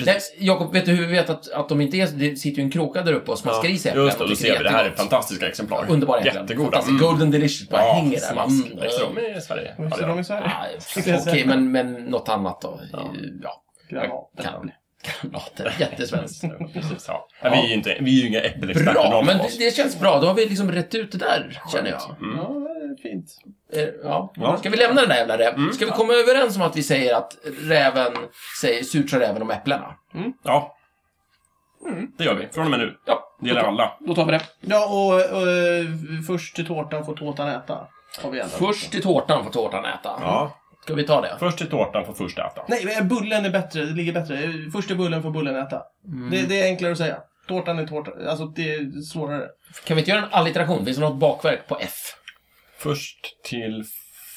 Nej, Jakob, vet du hur vi vet att, att de inte är Det sitter ju en kråka där uppe och smaskar i sig äpplen. Just det, och då tycker ser vi. Det här är jättegott. fantastiska exemplar. Underbara äpplen. Jättegoda. Fantastiskt. Golden delicious bara hänger där. smask. Mm. Växer de i Sverige? Ja, Växer det gör de de. i Sverige? Nej, Okej, men, men något annat då? Ja, Granat. kan Granater. Jättesvenskt. Precis, ja. Nej, Vi är ju inte, vi är ju inga äppelexperter. Bra, någon men av oss. det, det känns bra. Då har vi liksom rätt ut det där, känner jag. Ja, Mm. det är fint. Eh, Ja. Ja. Ska vi lämna den där jävla räven? Ska vi komma överens om att vi säger att räven säger surt sa räven om äpplena? Ja. Mm. Det gör vi. Från och med nu. Ja. Det gäller alla. Då tar vi det. Ja, och, och, eh, först till tårtan får tårtan äta. Har vi ändå. Först till tårtan får tårtan äta. Ja. Ska vi ta det? Först till tårtan får först äta. Nej, men bullen är bättre. Det ligger bättre. Först till bullen får bullen äta. Mm. Det, det är enklare att säga. Tårtan är tårta. Alltså, det är svårare. Kan vi inte göra en alliteration? Finns det något bakverk på F? Först till...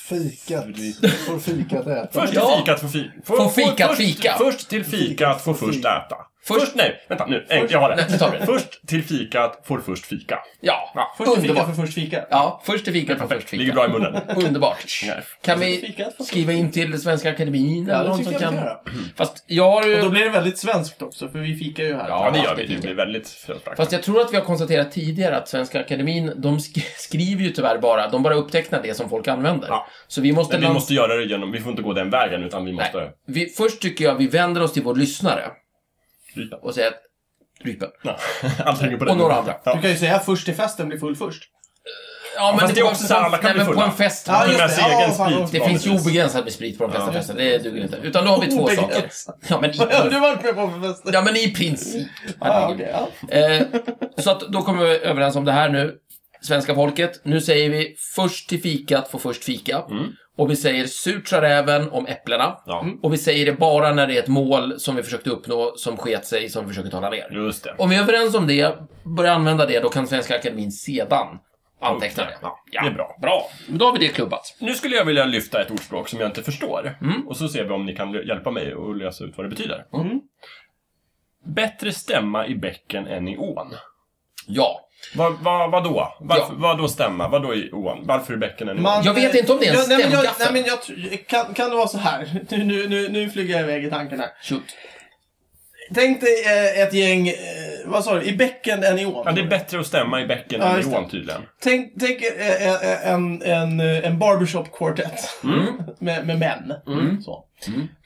Fikat. Fri- Får fikat äta. Först till Ja. fikat får fi... Får fikat först, fika. Först till fikat får först äta. Först, nej, vänta nu. En, jag har det. Nej, nu tar vi det. Först till fikat får först fika. Ja, Ja, Först till fika underbart. för först fika. Ja, först till fikat får först Ligger fika. bra i munnen. Underbart. Nej. Kan Först vi fika, först- skriva in till Svenska Akademin Ja, eller det någon tycker som jag vi kan kan... göra. Fast jag har Och då ju... blir det väldigt svenskt också, för vi fikar ju här. Ja. Ja, det gör vi. det Det blir väldigt fint. Fast jag tror att vi har konstaterat tidigare att Svenska Akademin, de sk- skriver ju tyvärr bara, de bara upptecknar det som folk använder. Ja. Så vi måste... Men vi lans- måste göra det genom... Vi får inte gå den vägen, utan vi måste... Nej. Vi, först tycker jag vi vänder oss till vår lyssnare Rypen. och säger att Rypen. Ja, Allt hänger på det. Och några andra. Ja. Du kan ju säga först till festen blir full först. Ja, fast det är var- också så här, alla kan nej, bli men på fulla. en fest. Ja, det just Deras det. Ja, egen fan, sprit. det finns ju vanligtvis. obegränsad med sprit på de flesta Ja. fester. Det duger inte. Utan då har vi två saker. Obegränsad. Ja, men Vad har i, du varit med på för fester? ja, men i princip. Ja, okej, ja. Eh, så att då kommer vi överens om det här nu. Svenska folket, nu säger vi först till fikat får först fika. Och vi säger surt sa räven om äpplena. Mm. Ja. Och vi säger det bara när det är ett mål som vi försökte uppnå, som sket sig, som vi försöker tala ner. Just det. Om vi är överens om det, börja använda det, då kan Svenska Akademin sedan anteckna det. Mm. Ja, det är bra. Bra. Men Då har vi det klubbat. Nu skulle jag vilja lyfta ett ordspråk som jag inte förstår. Och så ser vi om ni kan lö- hjälpa mig att lösa ut vad det betyder. Bättre stämma i bäcken än i ån. Ja. Vad va, då? Varför, Ja. Vadå stämma? Vadå i ån? Varför i bäcken än i ån? Man- Jag vet inte om det är en nej, men jag, stämgaffel. nej, men jag, tr- kan, kan det vara så här? Nu, nu, nu, nu flyger jag iväg i tankarna. Shoot. Tänk dig eh, ett gäng, eh, vad sa du, i bäcken än i ån. Ja, det är bättre att stämma i bäcken Ja, än i just det. ån tydligen. Tänk, tänk eh, eh, en, en, eh, en barbershop quartet Mm. med, med män. Så.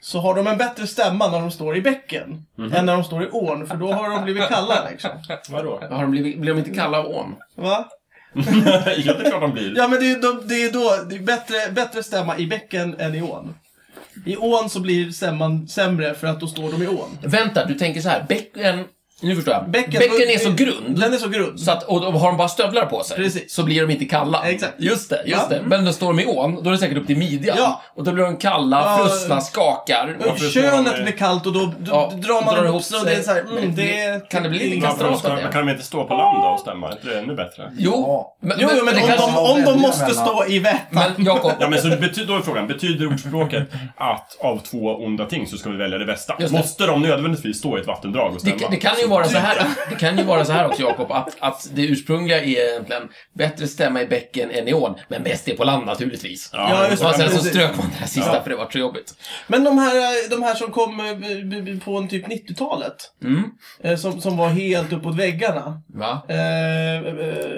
så har de en bättre stämma när de står i bäcken Mhm. än när de står i ån, för då har de blivit kalla liksom. Vadå? Har de blivit, blir de inte kalla av ån? Va? ja, det är klart de blir. Ja men det är, de, det är då, det är bättre, bättre stämma i bäcken än i ån. I ån så blir stämman sämre för att då står de i ån. Vänta, du tänker så här. Bäcken... Nu förstår jag. Bäcken, är så grund. Den är så grund. Så att, och då har de bara stövlar på sig Precis. så blir de inte kalla. Exakt. Just det, just Ja. det. Men då står de i ån, då är det säkert upp till midjan. Ja. Och då blir de kalla, Ja. frustna, skakar. Och Varför slår man Könet i- blir kallt och då, då Ja, drar man drar ihop ihop sig och sig. det är så här, mm, det är- Kan det bli lite Ja, kastar Varför oss av ska, det. kan de inte stå på land då och stämma? Är inte det ännu bättre? Jo, men, Jo, jo, men det om, kanske... de, om de Välja måste mellan. stå i Vättern. Men Jakob, Ja, men så det betyder, då är frågan, betyder ordspråket att av två onda ting så ska vi välja det bästa? Just det. Måste de nödvändigtvis stå i ett vattendrag och stämma? Det, det kan ju vara så här, det kan ju vara så här också Jakob, att, att det ursprungliga är egentligen bättre stämma i bäcken än i ån, men bäst är på land naturligtvis. Ja, just Och sen så precis. strök man det här sista för det var så jobbigt. Men de här, de här som kom eh, b- b- på en typ 90-talet. Mm. eh, Som, som var helt uppåt väggarna. Va? Eh, eh,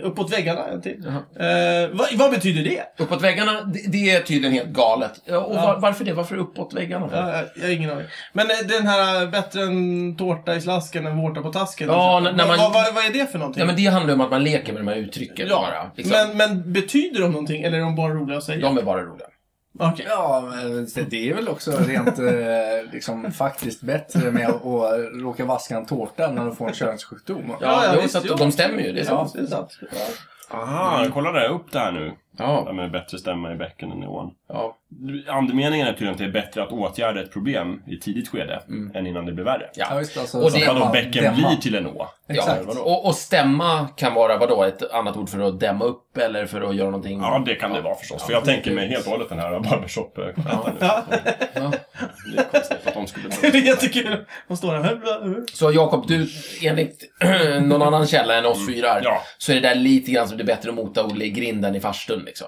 uppåt väggarna en till. Eh, vad, vad betyder det? Uppåt väggarna, det, det är tydligen helt galet. Ja, och var, varför det? Varför uppåt väggarna? Ja, jag- jag har ingen aning. Men eh, den här bättre en tårta i slasken än vårta på tasken. alltså. Ja, när- när Vad- man- vad, vad, vad är det för någonting? Ja, men det handlar om att man leker med de här uttrycken Ja, bara. Liksom. men, men betyder de någonting eller är de bara roliga att säga? De är bara roliga. Okej. Ja, men det- det är väl också rent eh, liksom, faktiskt bättre med att att råka vaska en tårta när du får en könssjukdom. Ja, jo, visst, så att jo. de stämmer ju, det är ja, sant. det är sant. Ja. Aha, kolla det upp det här nu. Det Ja, med bättre stämma i bäcken än i ån. ja. Andemeningen är tydligen att det är bättre att åtgärda ett problem i ett tidigt skede än innan det blir värre. Mm. Ja. just, alltså, Och det- Så att dämma- vadå, bäcken dämma. blir till en å? ja. Exakt. Och, och stämma kan vara vadå? Ett annat ord för att dämma upp eller för att göra någonting? Ja, det kan det vara förstås. För jag tänker mig helt och hållet den här barbershop ja. Ja. Det är konstigt att de skulle... Det är jättekul. De står där. Så Jakob, du, enligt någon annan källa än oss fyra här, Ja. så är det där lite grann som det är bättre att mota Olle i grinden i farstun liksom.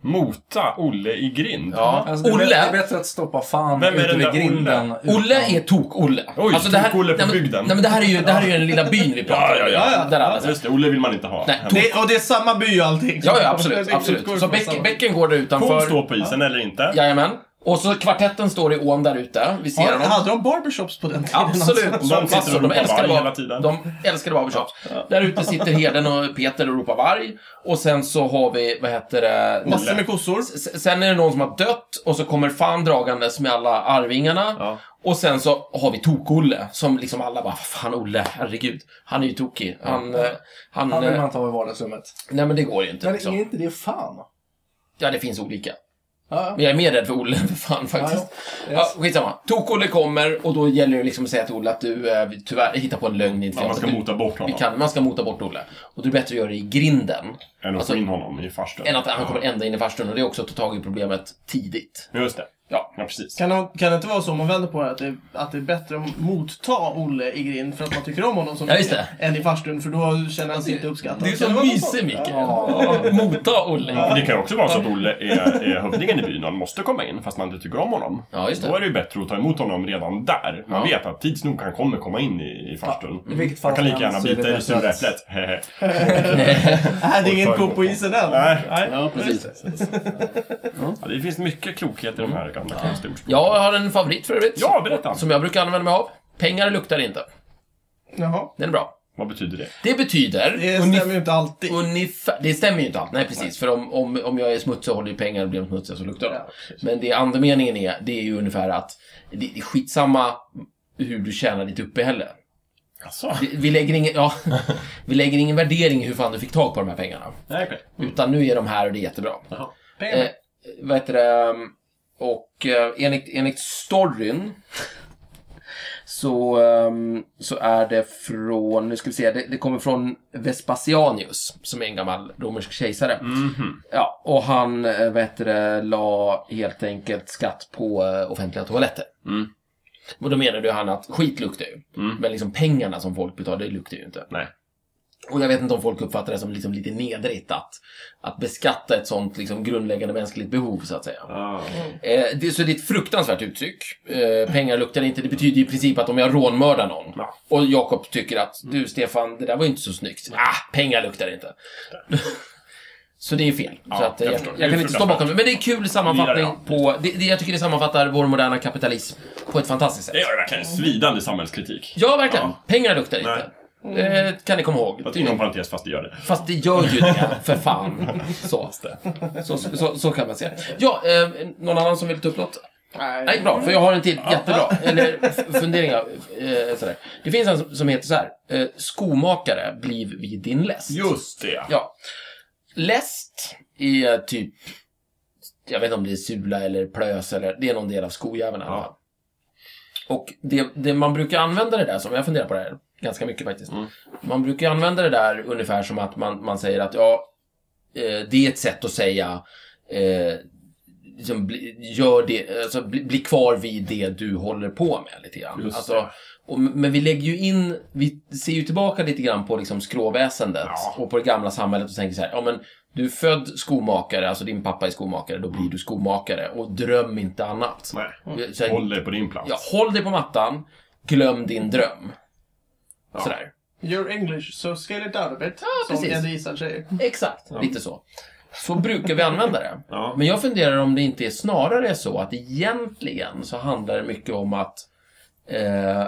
Mota Olle i grind? Ja. Alltså, det är Olle, bättre- Det är bättre att stoppa fan Vem är ut den över där grinden. utan- Olle är Tok-Olle. Alltså, Oj, Tok-Olle på nej, men- bygden. Nej, men det här är ju, det här är ju den lilla byn vi pratar om. Ja, ja, ja, ja. Där alla Just det, Olle vill man inte ha. Nej, Hemma. Det, och det är samma by och allting. Ja, ja, absolut. Det absolut. utgår Så från samma- bäcken, bäcken går där Kon utanför. står på isen eller inte? Jajamän. Och så kvartetten står i ån där ute. Vi ser Ja, dem. hade de barbershops på den tiden? Absolut. alltså? Som De sitter och massor. de ropar älskade varg var- hela tiden. De älskade barbershops. Där ute sitter Heden och Peter och ropar varg. Och sen så har vi, vad heter det? Massor med kossor. S- Sen är det någon som har dött och så kommer fan dragandes med alla arvingarna. Ja. Och sen så har vi Tok-Olle som liksom alla bara, "Vad fan Olle, herregud. Han är ju tokig. Han, eh, han, Han vill eh, man ta i vardagsrummet. nej men det går ju inte. Men är Liksom. inte det fan? Ja, det finns olika. Ja, Men jag är mer rädd för Olle än för fan faktiskt. Ja, skitsamma. Tok-Olle kommer och då gäller det liksom att säga till Olle att du eh, vi tyvärr hittar på en lögn. Inte Man ska mota bort vi honom. kan, man ska mota bort Olle. Och det är bättre att göra det i grinden Än att Alltså- få in honom i farstun. än att han kommer ända in i farstun. Och det är också att ta tag i problemet tidigt. Ja, Just det. Ja. Ja, precis. Kan, de, kan det inte vara så, om man vänder på det, att det, att det är bättre att motta Olle i grind för att man tycker om honom som Ja, just det. än i farstun, för då känner han sig inte uppskattad. Det är Kan så vara något mysig, sånt? Mikael. Mota Men Olle. det kan ju också vara så att Olle är, är hövdingen i byn och han måste komma in fast man inte tycker om honom. Ja, just det. Då är det ju bättre att ta emot honom redan där. Man Ja. vet att tids nog han kommer komma in i, i farstun. I vilket fall Man kan lika som gärna helst så bita är i det bättre att- sura äpplet. Hehe. Nej, Äh, det är ingen ko på isen än. Nej. Ja, precis. Ja, det finns mycket klokhet i de här gamla konstiga ordspråken. Jag har en favorit för övrigt. Ja, berätta! Som jag brukar använda mig av. Pengar luktar inte. Jaha. Den är bra. Vad betyder det? Det betyder... Det ungef- stämmer ju inte alltid. Ungefär, det stämmer ju inte allt. Nej, precis. För om, om, om jag är smutsig och håller i pengar och blir de smutsiga så luktar de. Ja, Men det andemeningen är, det är ju ungefär att det det är skitsamma hur du tjänar ditt uppehälle. Jaså? Det- Vi lägger, ingen, ja, vi lägger ingen värdering i hur fan du fick tag på de här pengarna. Nej, okej. Utan nu är de här och det är jättebra. Pengar. Eh, vad heter det? Ehm, Och eh, enligt, enligt storyn så, ehm, så är det från, nu ska vi se, det, det kommer från Vespasianus som är en gammal romersk kejsare. Ja, och han, eh, vad heter det, la helt enkelt skatt på eh, offentliga toaletter. Mm. Och då menade ju han att skit luktar ju, men liksom pengarna som folk betalar, det luktar ju inte. Nej. Och jag vet inte om folk uppfattar det som liksom lite nedrigt att, att beskatta ett sånt liksom grundläggande mänskligt behov, så att säga. Ah. Eh, det, så det är ett fruktansvärt uttryck. Eh, pengar luktar inte. Det betyder i princip att om jag rånmördar någon Ja. och Jakob tycker att du Stefan, det där var ju inte så snyggt. Ah, pengar luktar inte. så det är fel. så Ja, att, eh, jag jag, förstår. Det är jag kan inte stå fruktansvärt. bakom det. Men det är kul Lirar, sammanfattning ja. på... Det, det, jag tycker det sammanfattar vår moderna kapitalism på ett fantastiskt Det sätt. är ju verkligen svidande samhällskritik. Ja, verkligen. Ja. Pengar luktar inte. Eh, kan ni komma ihåg. Fast Inom parentes, fast det gör det. Fast det gör ju det, för fan. Så, så, så, så, så kan man säga. Ja, eh, någon annan som vill ta upp något? Nej, bra, för jag har en till. Jättebra. Eller f- funderingar. Eh, sådär. Det finns en som- som heter så här. Eh, skomakare, bliv vid din läst. Just det! Ja. Läst är typ... Jag vet inte om det är sula eller plös eller... Det är någon del av skojäveln i alla Ja. fall. Och det, det man brukar använda det där som, jag funderar på det här ganska mycket faktiskt. Mm. Man brukar använda det där ungefär som att man, man säger att ja, eh, det är ett sätt att säga eh, liksom, bli, gör det, alltså, bli, bli kvar vid det du håller på med lite grann. Just Alltså, och, men vi lägger ju in, vi ser ju tillbaka lite grann på liksom skråväsendet Ja. och på det gamla samhället och tänker så här, ja men du är född skomakare, alltså din pappa är skomakare, då blir du skomakare och dröm inte annat. Nej. Så här, Håll dig på din plats. Ja, håll dig på mattan, glöm din dröm. Sådär. You're English, so scale it down a bit. Ja, som precis. Eddie Isan säger. Exakt. Lite så. Så brukar vi använda det. Ja. Men jag funderar om det inte är snarare så att egentligen så handlar det mycket om att eh,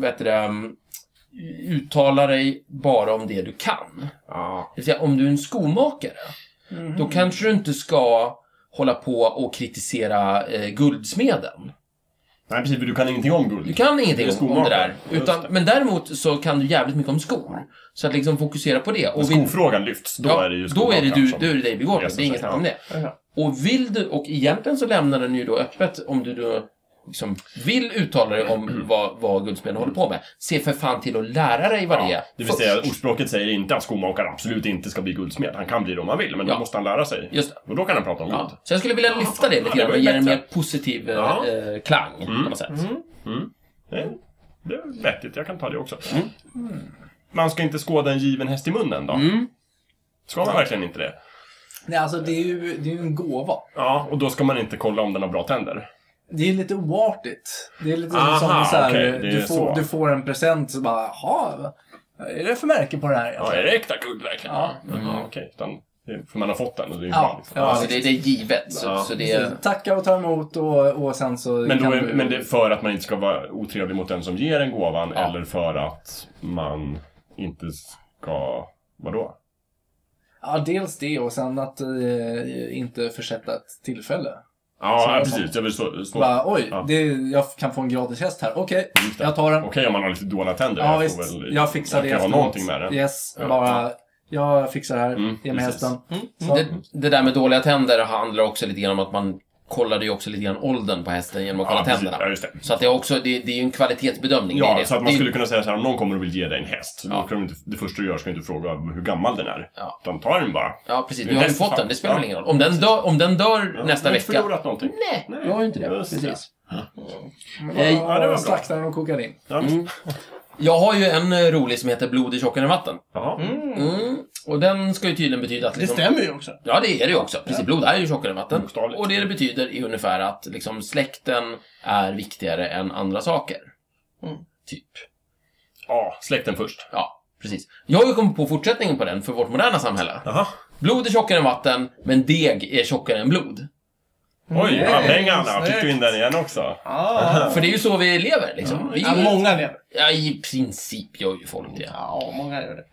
vet du, det, um, uttala dig bara om det du kan. Ja. Det vill säga, om du är en skomakare, Mhm. då kanske du inte ska hålla på och kritisera eh, guldsmeden. Nej, precis. för Du kan ingenting om Du guld. kan ingenting Det är om, om det där. skomakare. Utan, Men däremot så kan du jävligt mycket om skor. Så att liksom fokusera på det. Och vill- Skofrågan lyfts. Då ja, är det ju då är det skomakaren du, som- då är det dig vi går på. reser Det är inget sig, snack om det. Ja. Och vill du, och egentligen så lämnar den ju då öppet om du då liksom vill uttala dig om vad, vad guldsmeden håller på med. Se för fan till att lära dig vad det är Ja, det vill först. säga, ordspråket säger inte att skomakaren absolut inte ska bli guldsmed. Han kan bli det om han vill, men Ja. då måste han lära sig. Just det. Och då kan han prata om guld. Ja. Så jag skulle vilja lyfta det lite det grann var och ju ge det en bättre. mer positiv eh, Ja. Mm. eh, klang på något sätt. Det, det är vettigt, jag kan ta det också. Mm. Man ska inte skåda en given häst i munnen då? Ska man verkligen inte det? Nej, alltså det är ju, det är ju en gåva. Ja, och då ska man inte kolla om den har bra tänder. Det är lite oartigt. Det är lite Aha, som så här, okej, det är du, får, så. du får en present så bara, jaha, vad är det för märke på det här? Ja, är det äkta guld verkligen? Ja. Ja, okej. Utan, det- för man har fått den och det är ju Ja, bra. Liksom. ja. Alltså det, det är givet. Så, Ja. så det är, Så Tacka och ta emot och, och sen så Men, då kan är, du... men det är för att man inte ska vara otrevlig mot den som ger en gåvan Ja. eller för att man inte ska... Vadå? Ja, dels det och sen att eh, inte försätta ett tillfälle. Så Ja, jag- precis. Jag vill så, så, Bara, oj, Ja. det, jag kan få en gratis häst här. Okej, Just det. jag tar den. Okej om man har lite dåliga tänder. Ja, jag, får visst. väl, Jag fixar det jag kan ha någonting med det. Yes, Ja. bara jag fixar det här. Mm, Ge mig precis. hästen. Så. mm. det, det där med dåliga tänder handlar också lite grann om att man kollade ju också lite grann åldern på hästen genom att kolla Ja, precis. tänderna. Ja, just det. Så att det är också, det, det är ju en kvalitetsbedömning. det är Ja, det. så att Det man är- skulle kunna säga så här om någon kommer och vill ge dig en häst. så Ja. Då kan du inte, det första du gör ska du inte fråga hur gammal den är. Ja. Utan ta den bara. Ja, precis. Det Du har ju häst- fått den. Det spelar Ja. väl ingen roll. Om den dör, om den dör nästa Du har vecka... inte förlorat någonting. Nej, Nej, du har ju inte det. just det. Precis. Eh, Hey. Ja, det var bra. Slaktar den och kokar in. Ja. Mm. Jag har ju en eh, rolig som heter Blod är tjockare än vatten. Jaha. Mm. Och den ska ju tydligen betyda att... Det Liksom, stämmer ju också. ja, det är det ju också. Precis, blod är ju tjockare än vatten. Bokstavligt. Och det det betyder är ungefär att liksom, släkten är viktigare än andra saker. Mm. Typ. Ja, släkten först. Ja, precis. Jag har ju kommit på fortsättningen på den för vårt moderna samhälle. Jaha. Blod är tjockare än vatten, men deg är tjockare än blod. Oj, ja, pengarna! snyggt. Fick du in den igen också? Ja, För det är ju så vi lever, liksom. Vi, ja många lever. ja, I princip gör ju folk det. Ja, många gör det.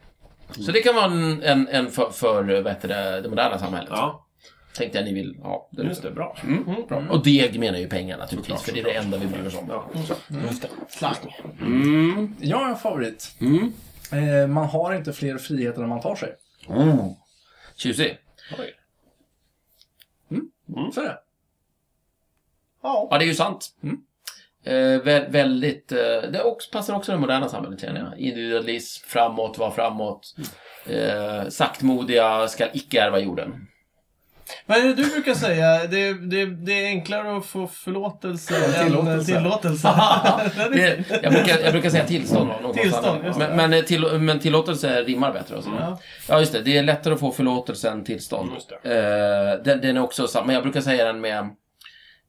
Så det kan vara en, en, en för, för vad heter det, det moderna samhället. Ja, Tänkte jag ni vill ha. Det just det. Bra. Bra. Och deg menar ju pengar naturligtvis, för det är det enda vi bryr oss om. Ja. Slang. Jag har en favorit. Mm. Eh, man har inte fler friheter än man tar sig. Mm. Tjusig. Mm. Så är det. Ja. Ja, det är ju sant. Eh, vä- väldigt, eh, det också, passar också det moderna samhället känner jag. Individualism, framåt, var framåt. Eh, saktmodiga, ska icke ärva jorden. Vad är det du brukar säga? Det, det, det är enklare att få förlåtelse än Tillåtelse. tillåtelse. Det, jag, brukar, jag brukar säga tillstånd. av någon Tillstånd, annan. just det. men, men, eh, till, men tillåtelse rimmar bättre. Och så. Ja. just det. Det är lättare att få förlåtelse än tillstånd. Just Eh, den, den är också samma. Men jag brukar säga den med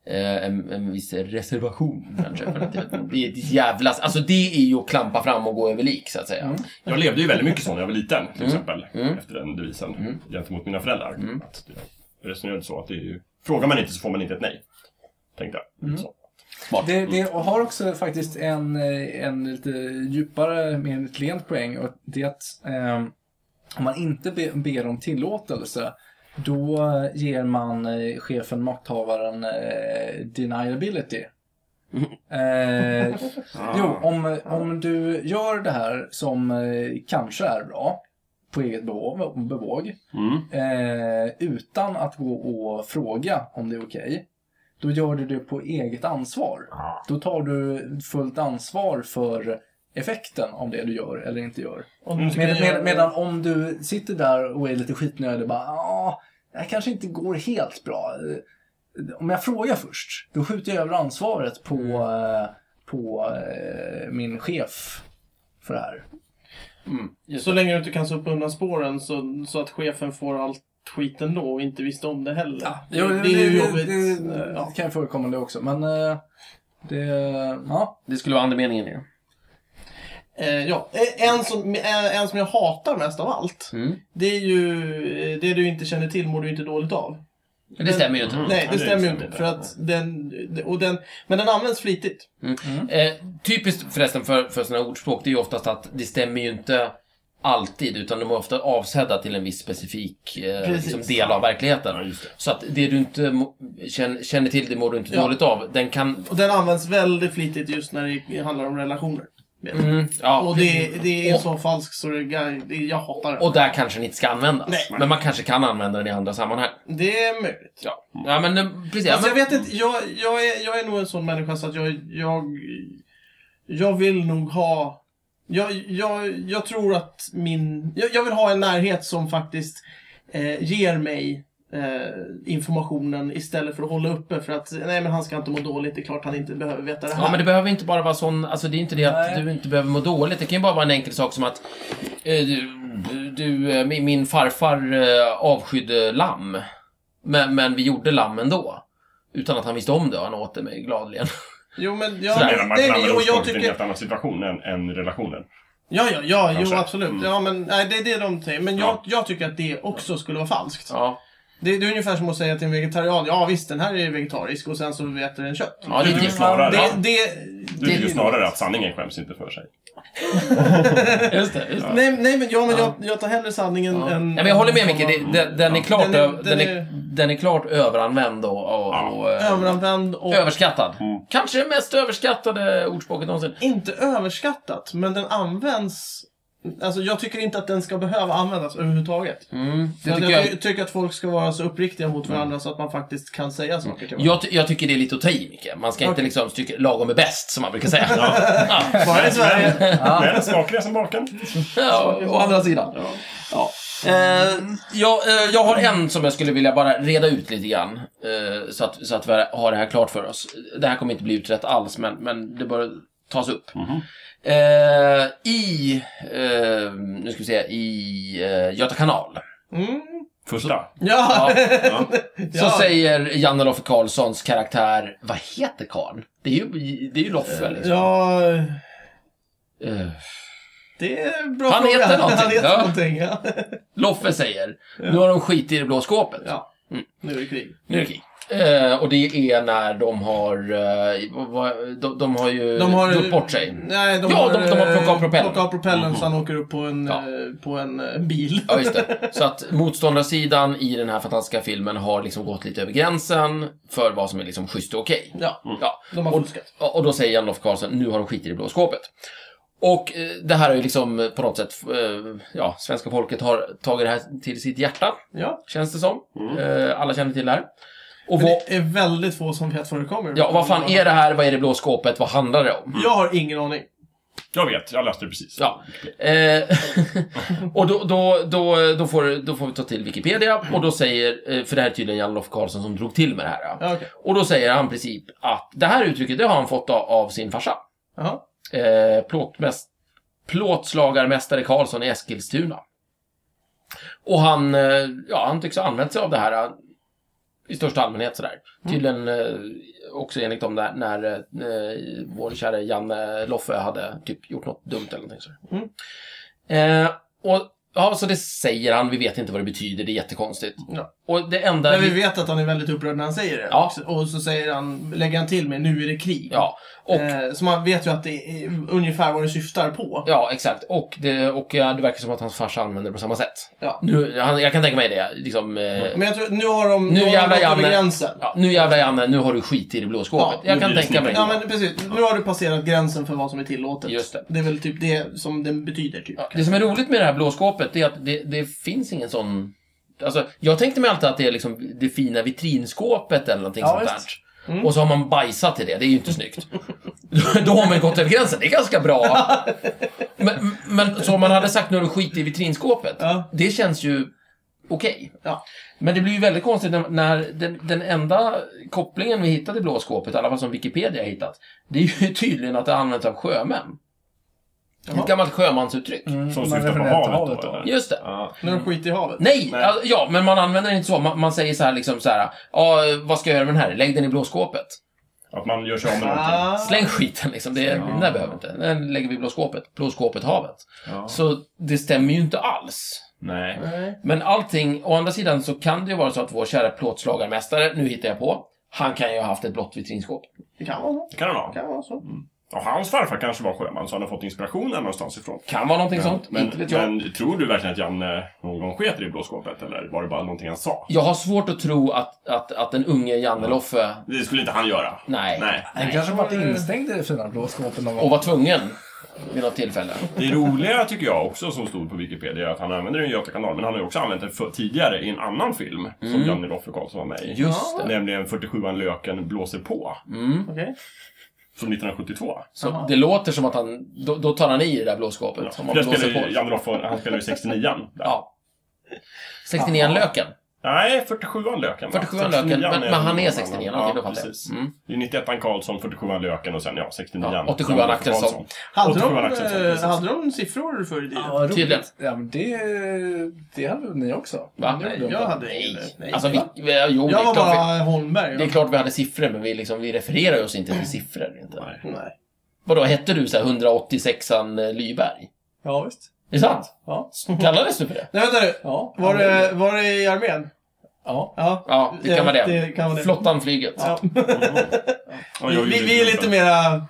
eh, en, en viss reservation kanske. För att det, det är ett jävla... Alltså det är ju att klampa fram och gå över lik så att säga. Mm. Jag levde ju väldigt mycket så när jag var liten, till exempel. Efter den devisen Mm. gentemot mina föräldrar. Att jag resonerade så att det är ju... Frågar man inte så får man inte ett nej. Tänkte jag. Mm. Så. Det, det och har också faktiskt en, eh, en lite djupare, mer klient poäng. Och det är att eh, om man inte be, ber om tillåtelse, då ger man eh, chefen, makthavaren, eh, deniability. Eh, jo, om, om du gör det här som eh, kanske är bra, på eget bevåg, bevåg Mm. eh, utan att gå och fråga om det är okej, då gör du det på eget ansvar. Då tar du fullt ansvar för effekten av det du gör eller inte gör. Om du Med, tycker med, jag- medan om du sitter där och är lite skitnödig och bara ja, det här kanske inte går helt bra. Eh, Om jag frågar först, då skjuter jag över ansvaret på, eh, på eh, min chef för det här. Så länge du inte kan sopa undan spåren så, så att chefen får allt skiten då och inte visste om det heller. det, det är ju jobbigt. Det, det, ja. kan ju förekomma det också, men eh, det, ja. Det skulle vara andemeningen ju. Eh, ja, Eh, en som, eh, en som jag hatar mest av allt. Mm. Det är ju eh, det du inte känner till mår du inte dåligt av. Men det stämmer ju inte. Nej, Ja, det det stämmer ju stämmer inte. inte. För att den, och den, men den används flitigt. Mm. Eh, typiskt förresten för, för sådana ordspråk, det är ju oftast att det stämmer ju inte alltid, utan de är ofta avsedda till en viss specifik eh, Precis. liksom del av Ja, verkligheten. just det. Så att det du inte mo- känner, känner till, det mår du inte Ja. dåligt av. Den kan... Och den används väldigt flitigt just när det handlar om relationer. Mm, ja. Och det, det är så falskt så det, det, jag hatar Och den. där kanske den inte ska användas. Nej. Men man kanske kan använda den i andra sammanhang. Det är möjligt. Ja, ja men eh, precis. Ja, Fast men, Alltså, jag vet inte, jag, jag, är, jag är nog en sån människa så att jag, jag, jag vill nog ha, jag, jag, jag tror att min, jag, jag vill ha en närhet som faktiskt eh, ger mig eh, informationen istället för att hålla uppe för att, nej men han ska inte må dåligt, det är klart han inte behöver veta det här. Ja, men det behöver inte bara vara sån, alltså det är inte det att Nej. du inte behöver må dåligt. Det kan ju bara vara en enkel sak som att eh, du, du eh, min, min farfar eh, avskydde lamm. Men, men vi gjorde lamm ändå. Utan att han visste om det och han åt det mig gladeligen. Jo men, ja, Så Medan men, man kan nej, använda och jag ordspråket i en tycker, helt annan situation än, än relationen. ja ja, ja jo Kanske. absolut. Mm. Ja men, nej det är det de säger. Men jag, Ja. jag tycker att det också skulle vara falskt. Ja, Det, det är ungefär som att säga till en vegetarian, ja visst den här är vegetarisk och sen så äter den kött. ja det är Du är typ snarare- Det, Ja. det, Du tycker snarare att sanningen skäms inte för sig. Just det, just det. Nej, nej men, ja, men jag, jag tar hellre sanningen Ja. än... men jag håller med Micke, det, den, den, är Ja. klart, Den är- öv- den, den är, är- den är klart överanvänd och, och, Ja. och eh, Överanvänd och... överskattad. Mm. Kanske det mest överskattade ordspråket någonsin. Inte överskattat, men den används... Alltså jag tycker inte att den ska behöva användas överhuvudtaget. Mm, det Jag, tycker jag, jag, Mm. ty- tycker att folk ska vara så uppriktiga mot varandra så att man faktiskt kan säga saker till varandra. Jag, ty- jag tycker det är lite att ta i, Micke. Man ska inte Okej. liksom tycka lagom är bäst, som man brukar säga. Ja. Bara i Sverige. Men smakliga som baken. Ja, Mm. å andra sidan. Ja. Eh, jag, eh, jag har en som jag skulle vilja bara reda ut lite grann. Eh, så, att, så att vi har det här klart för oss. Det här kommer inte bli utrett alls, men, men det bör tas upp. Mhm. Eh, I, eh, nu ska vi se, i eh, Göta kanal. Mm. Första. Ja. Ja. Ja. Så Ja. säger Janne Loffe Karlssons karaktär, vad heter karln? Det är ju, det är ju Loffe liksom. ja, Eh, det är en bra Han fråga. heter någonting, Han heter ja. någonting, ja. Loffe säger, nu har de skit i det blå skåpet. ja. Mm. Nu är det krig. Nu är det krig. Eh, och det är när de har... eh, vad- vad- de, de har ju De har, gjort bort sig. Nej, de Ja, har, de- de har plockat av propellern. Plockat av propellern så han åker upp på en, Ja. eh, på en eh, bil. Ja, just det. Så att motståndarsidan i den här fantastiska filmen har liksom gått lite över gränsen för vad som är liksom schysst och okej. Mm. Ja, Ja. de har fuskat. Och och då säger Jan Lof Karlsson, nu har de skit i det blå skåpet. Och eh, det här är ju liksom eh, på något sätt, eh, ja, svenska folket har tagit det här till sitt hjärta, Ja. känns det som. Eh, alla känner till det här. Och Mm. Men vad, det är väldigt få som vet vad det kommer. ja, vad fan är det här? Vad är det blå skåpet? Vad handlar det om? Jag har ingen aning. Jag vet, jag läste det precis. Ja. Eh, och då, då, då, då, får, då får vi ta till Wikipedia och då säger, eh, för det här är tydligen Jan Lof Karlsson som drog till med det här. ja. Ja, okej. Och då säger han i princip att det här uttrycket det har han fått av, av sin farsa. Jaha. Eh, plåtmäst, plåtslagarmästare Karlsson i Eskilstuna. Och han, eh, ja, han tycks ha använt sig av det här eh, i största allmänhet sådär. Mm. Tydligen eh, också enligt dem där, när eh, vår kära Janne Loffe hade typ gjort något dumt eller någonting sådär. Mm. Eh, och, ja, så det säger han, vi vet inte vad det betyder, det är jättekonstigt. Ja. Och det enda... Men vi vi- vet att han är väldigt upprörd när han säger det. Ja. Och- Och så säger han, lägger han till med nu är det krig. Ja, och Eh, så man vet ju att det är ungefär vad det syftar på. Ja, exakt. Och det, och ja, det verkar som att hans farsa använder det på samma sätt. Ja. Nu, han, jag kan tänka mig det. Liksom, eh, Men jag tror, nu har de, Nu har de jävlar, gått över Janne. gränsen. ja, nu jävlar Janne, nu har du skit i det blå skåpet. Ja, jag nu kan blir det tänka mig. Ja, men precis. Nu har du passerat gränsen för vad som är tillåtet. Just det. det är väl typ det som den betyder, typ. Ja, Det som är roligt med det här blå skåpet är att det, det finns ingen sån... Alltså, jag tänkte mig alltid att det är liksom det fina vitrinskåpet eller någonting Ja, sånt visst. där. Mm. Och så har man bajsat i det, det är ju inte snyggt. Då har man gått över gränsen, det är ganska bra. Men, men så om man hade sagt nu har du skit i vitrinskåpet, Ja. det känns ju okej. Ja. Men det blir ju väldigt konstigt när, när den, den enda kopplingen vi hittade i blåskåpet, i alla fall som Wikipedia har hittat, det är ju tydligen att det används av sjömän. Ett gammalt sjömansuttryck. Mm. Som man syftar på refererar till havet havet då, då. eller? Just det. Ja. Nu har de skit i havet. Nej, Nej. Alltså, ja, men man använder det inte så. Man, man säger så här liksom så här, ja, vad ska jag göra med den här? Lägg den i blåskåpet. Att man gör sig av med någonting. Ah. Släng skiten liksom. Det, Den där behöver vi inte. Den lägger vi i blå skåpet. Blå skåpet havet. Ja. Så det stämmer ju inte alls. Nej. Nej. Men allting, å andra sidan så kan det ju vara så att vår kära plåtslagarmästare, nu hittar jag på, han kan ju ha haft ett blått vitrinskåp. Det kan vara så. Det kan det vara. Det kan vara så. Mm. Och hans farfar kanske var sjöman, så han har fått inspirationen någonstans ifrån. Kan vara någonting sånt, men, inte vet jag. men tror du verkligen att Janne någon gång sket i det blå skåpet, eller var det bara någonting han sa? Jag har svårt att tro att, att, att den unge Janneloffe, Det skulle inte han göra. nej, Nej. Han kanske varit instängd i det fina blå skåpet någon gång. och var tvungen vid något tillfälle. Det roliga tycker jag också som stod på Wikipedia är att han använder den i Göta kanal, men han har ju också använt den för, tidigare i en annan film som Janne Roffe Karlsson var med i. Mm. Just det. Nämligen 47an Löken blåser på, Okej. från 1972. Så det låter som att han, då, då tar han i det där blå skåpet. Om man Där blåser spelar på. ju Janne Roffe, han spelar ju 69an. där. Ja. 69-löken. Nej, 47an Löken. va? 47an Löken, 69an men- men han är den 69an, okej, Ja, då fattar jag. precis. Mm. Det är 91an Karlsson, 47an Löken och sen ja, 69an. Ja, 87an Janne Roffe Axelsson. Karlsson. Hade, 87an de, Axelsson, eh, precis. hade de siffror förr i tiden? Ja, roligt. Tydligen. Ja, men det, det hade väl ni också? Va? Det gjorde Nej, de jag inte. hade ingen. Nej. Alltså, vi, vi, jo, det jag är, var klart bara Holmberg. vi, det är klart vi hade siffror, men vi, liksom, vi refererar ju oss inte till siffror. Inte. Nej. Vadå, hette du så här 186an Lyberg? Ja, visst. Är det sant? Ja. Mm. Kallades du för det? Nej, vänta nu. Ja, Var det, var det i armén? Ja. Ja. Ja, det kan vara det. det kan vara det. Flottan flyget. Ja. Ja. Ja, jag Vi, gjorde vi, ju vi är det. lite mera...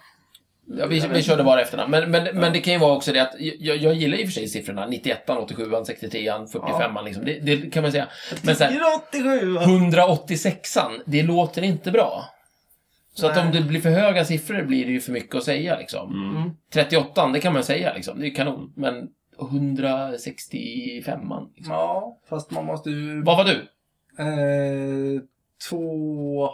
vi, vi körde bara efternamn. Men, men, men det kan ju vara också det att jag, jag gillar i och för sig siffrorna. 91, 87, 63, 45 liksom. det, det kan man säga. Men sen 87! 186, det låter inte bra. Så att Nej. om det blir för höga siffror blir det ju för mycket att säga liksom. Mm. 38, det kan man säga liksom. Det är ju kanon. Men 165 liksom. Ja, fast man måste ju... Vad var du? Eh, två...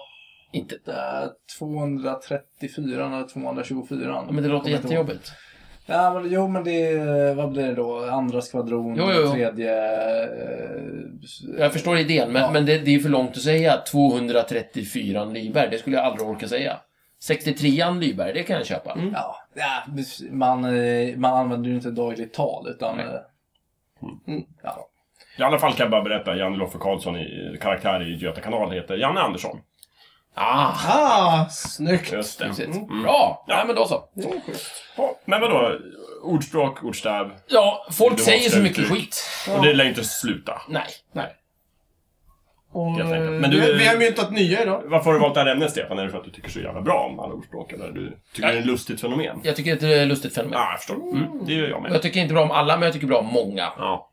Inte... Där, 234 eller 224. Ja, Men det låter jättejobbigt. Ja, men, jo, men det är, vad blir det då? Andra skvadron, Jo, jo, jo. tredje... Eh, Jag förstår idén, men, Ja. men det, det är för långt att säga 234 Lyberg. Det skulle jag aldrig orka säga. 63 Lyberg, det kan jag köpa. Ja, ja, man, eh, man använder ju inte dagligt tal utan... eh, Mm. Ja. I alla fall kan jag bara berätta, Janne Roffe Karlsson, i, eh, karaktär i Göta kanal, heter Janne Andersson. Ah, Ah, snyggt! Just det. Mm. mysigt. Bra! Ja, men då så. Ja, men vadå? Ordspråk, ordstäv. Ja, folk Det var säger så slut mycket ut. skit. Och det lär ju inte sluta. Nej. Nej. Och, Helt enkelt. Men Men du... du- vi, vi har myntat nya idag. Varför har du valt det här ämnet, Stefan? Är det för att du tycker så jävla bra om alla ordspråk? Eller du tycker det är ett lustigt fenomen? Ja, Jag tycker att det är ett lustigt fenomen. jag förstår. Mm, det gör jag med. Jag tycker inte bra om alla, men jag tycker bra om många. Ja.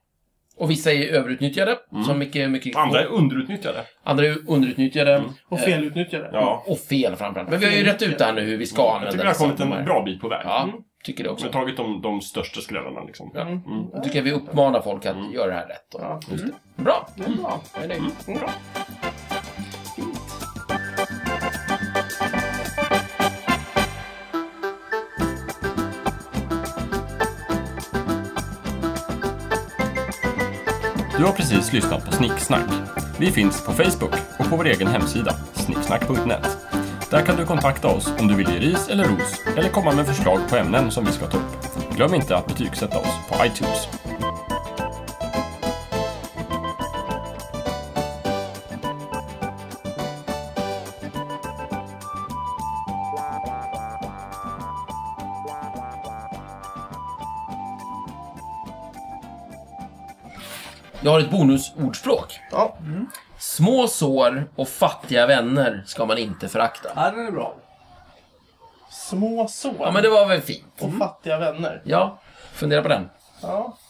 Och vissa är överutnyttjade, som mycket, mycket Andra är underutnyttjade. andra är underutnyttjade. Eh, Och felutnyttjade. Ja. Och fel framförallt. Men vi har ju rätt ut det här nu hur vi ska Jag använda tycker vi har vissa kommit av de här. en bra bit på väg. Ja, Mm. tycker det Vi har också. tagit de, de största skrällarna liksom. Ja. Då tycker jag vi uppmanar folk att göra det här rätt. Då. Ja. Bra! Mm. Ja, jag Mm. är nöjd. Bra. Du har precis lyssnat på Snicksnack. Vi finns på Facebook och på vår egen hemsida, snicksnack.net. Där kan du kontakta oss om du vill ge ris eller ros eller komma med förslag på ämnen som vi ska ta upp. Glöm inte att betygsätta oss på iTunes. Jag har ett bonusordspråk. Mm. Ja. Små sår och fattiga vänner ska man inte förakta. ja, den är bra. Små sår Ja, men det var väl fint? Mm. och fattiga vänner. Ja, fundera på den. Ja.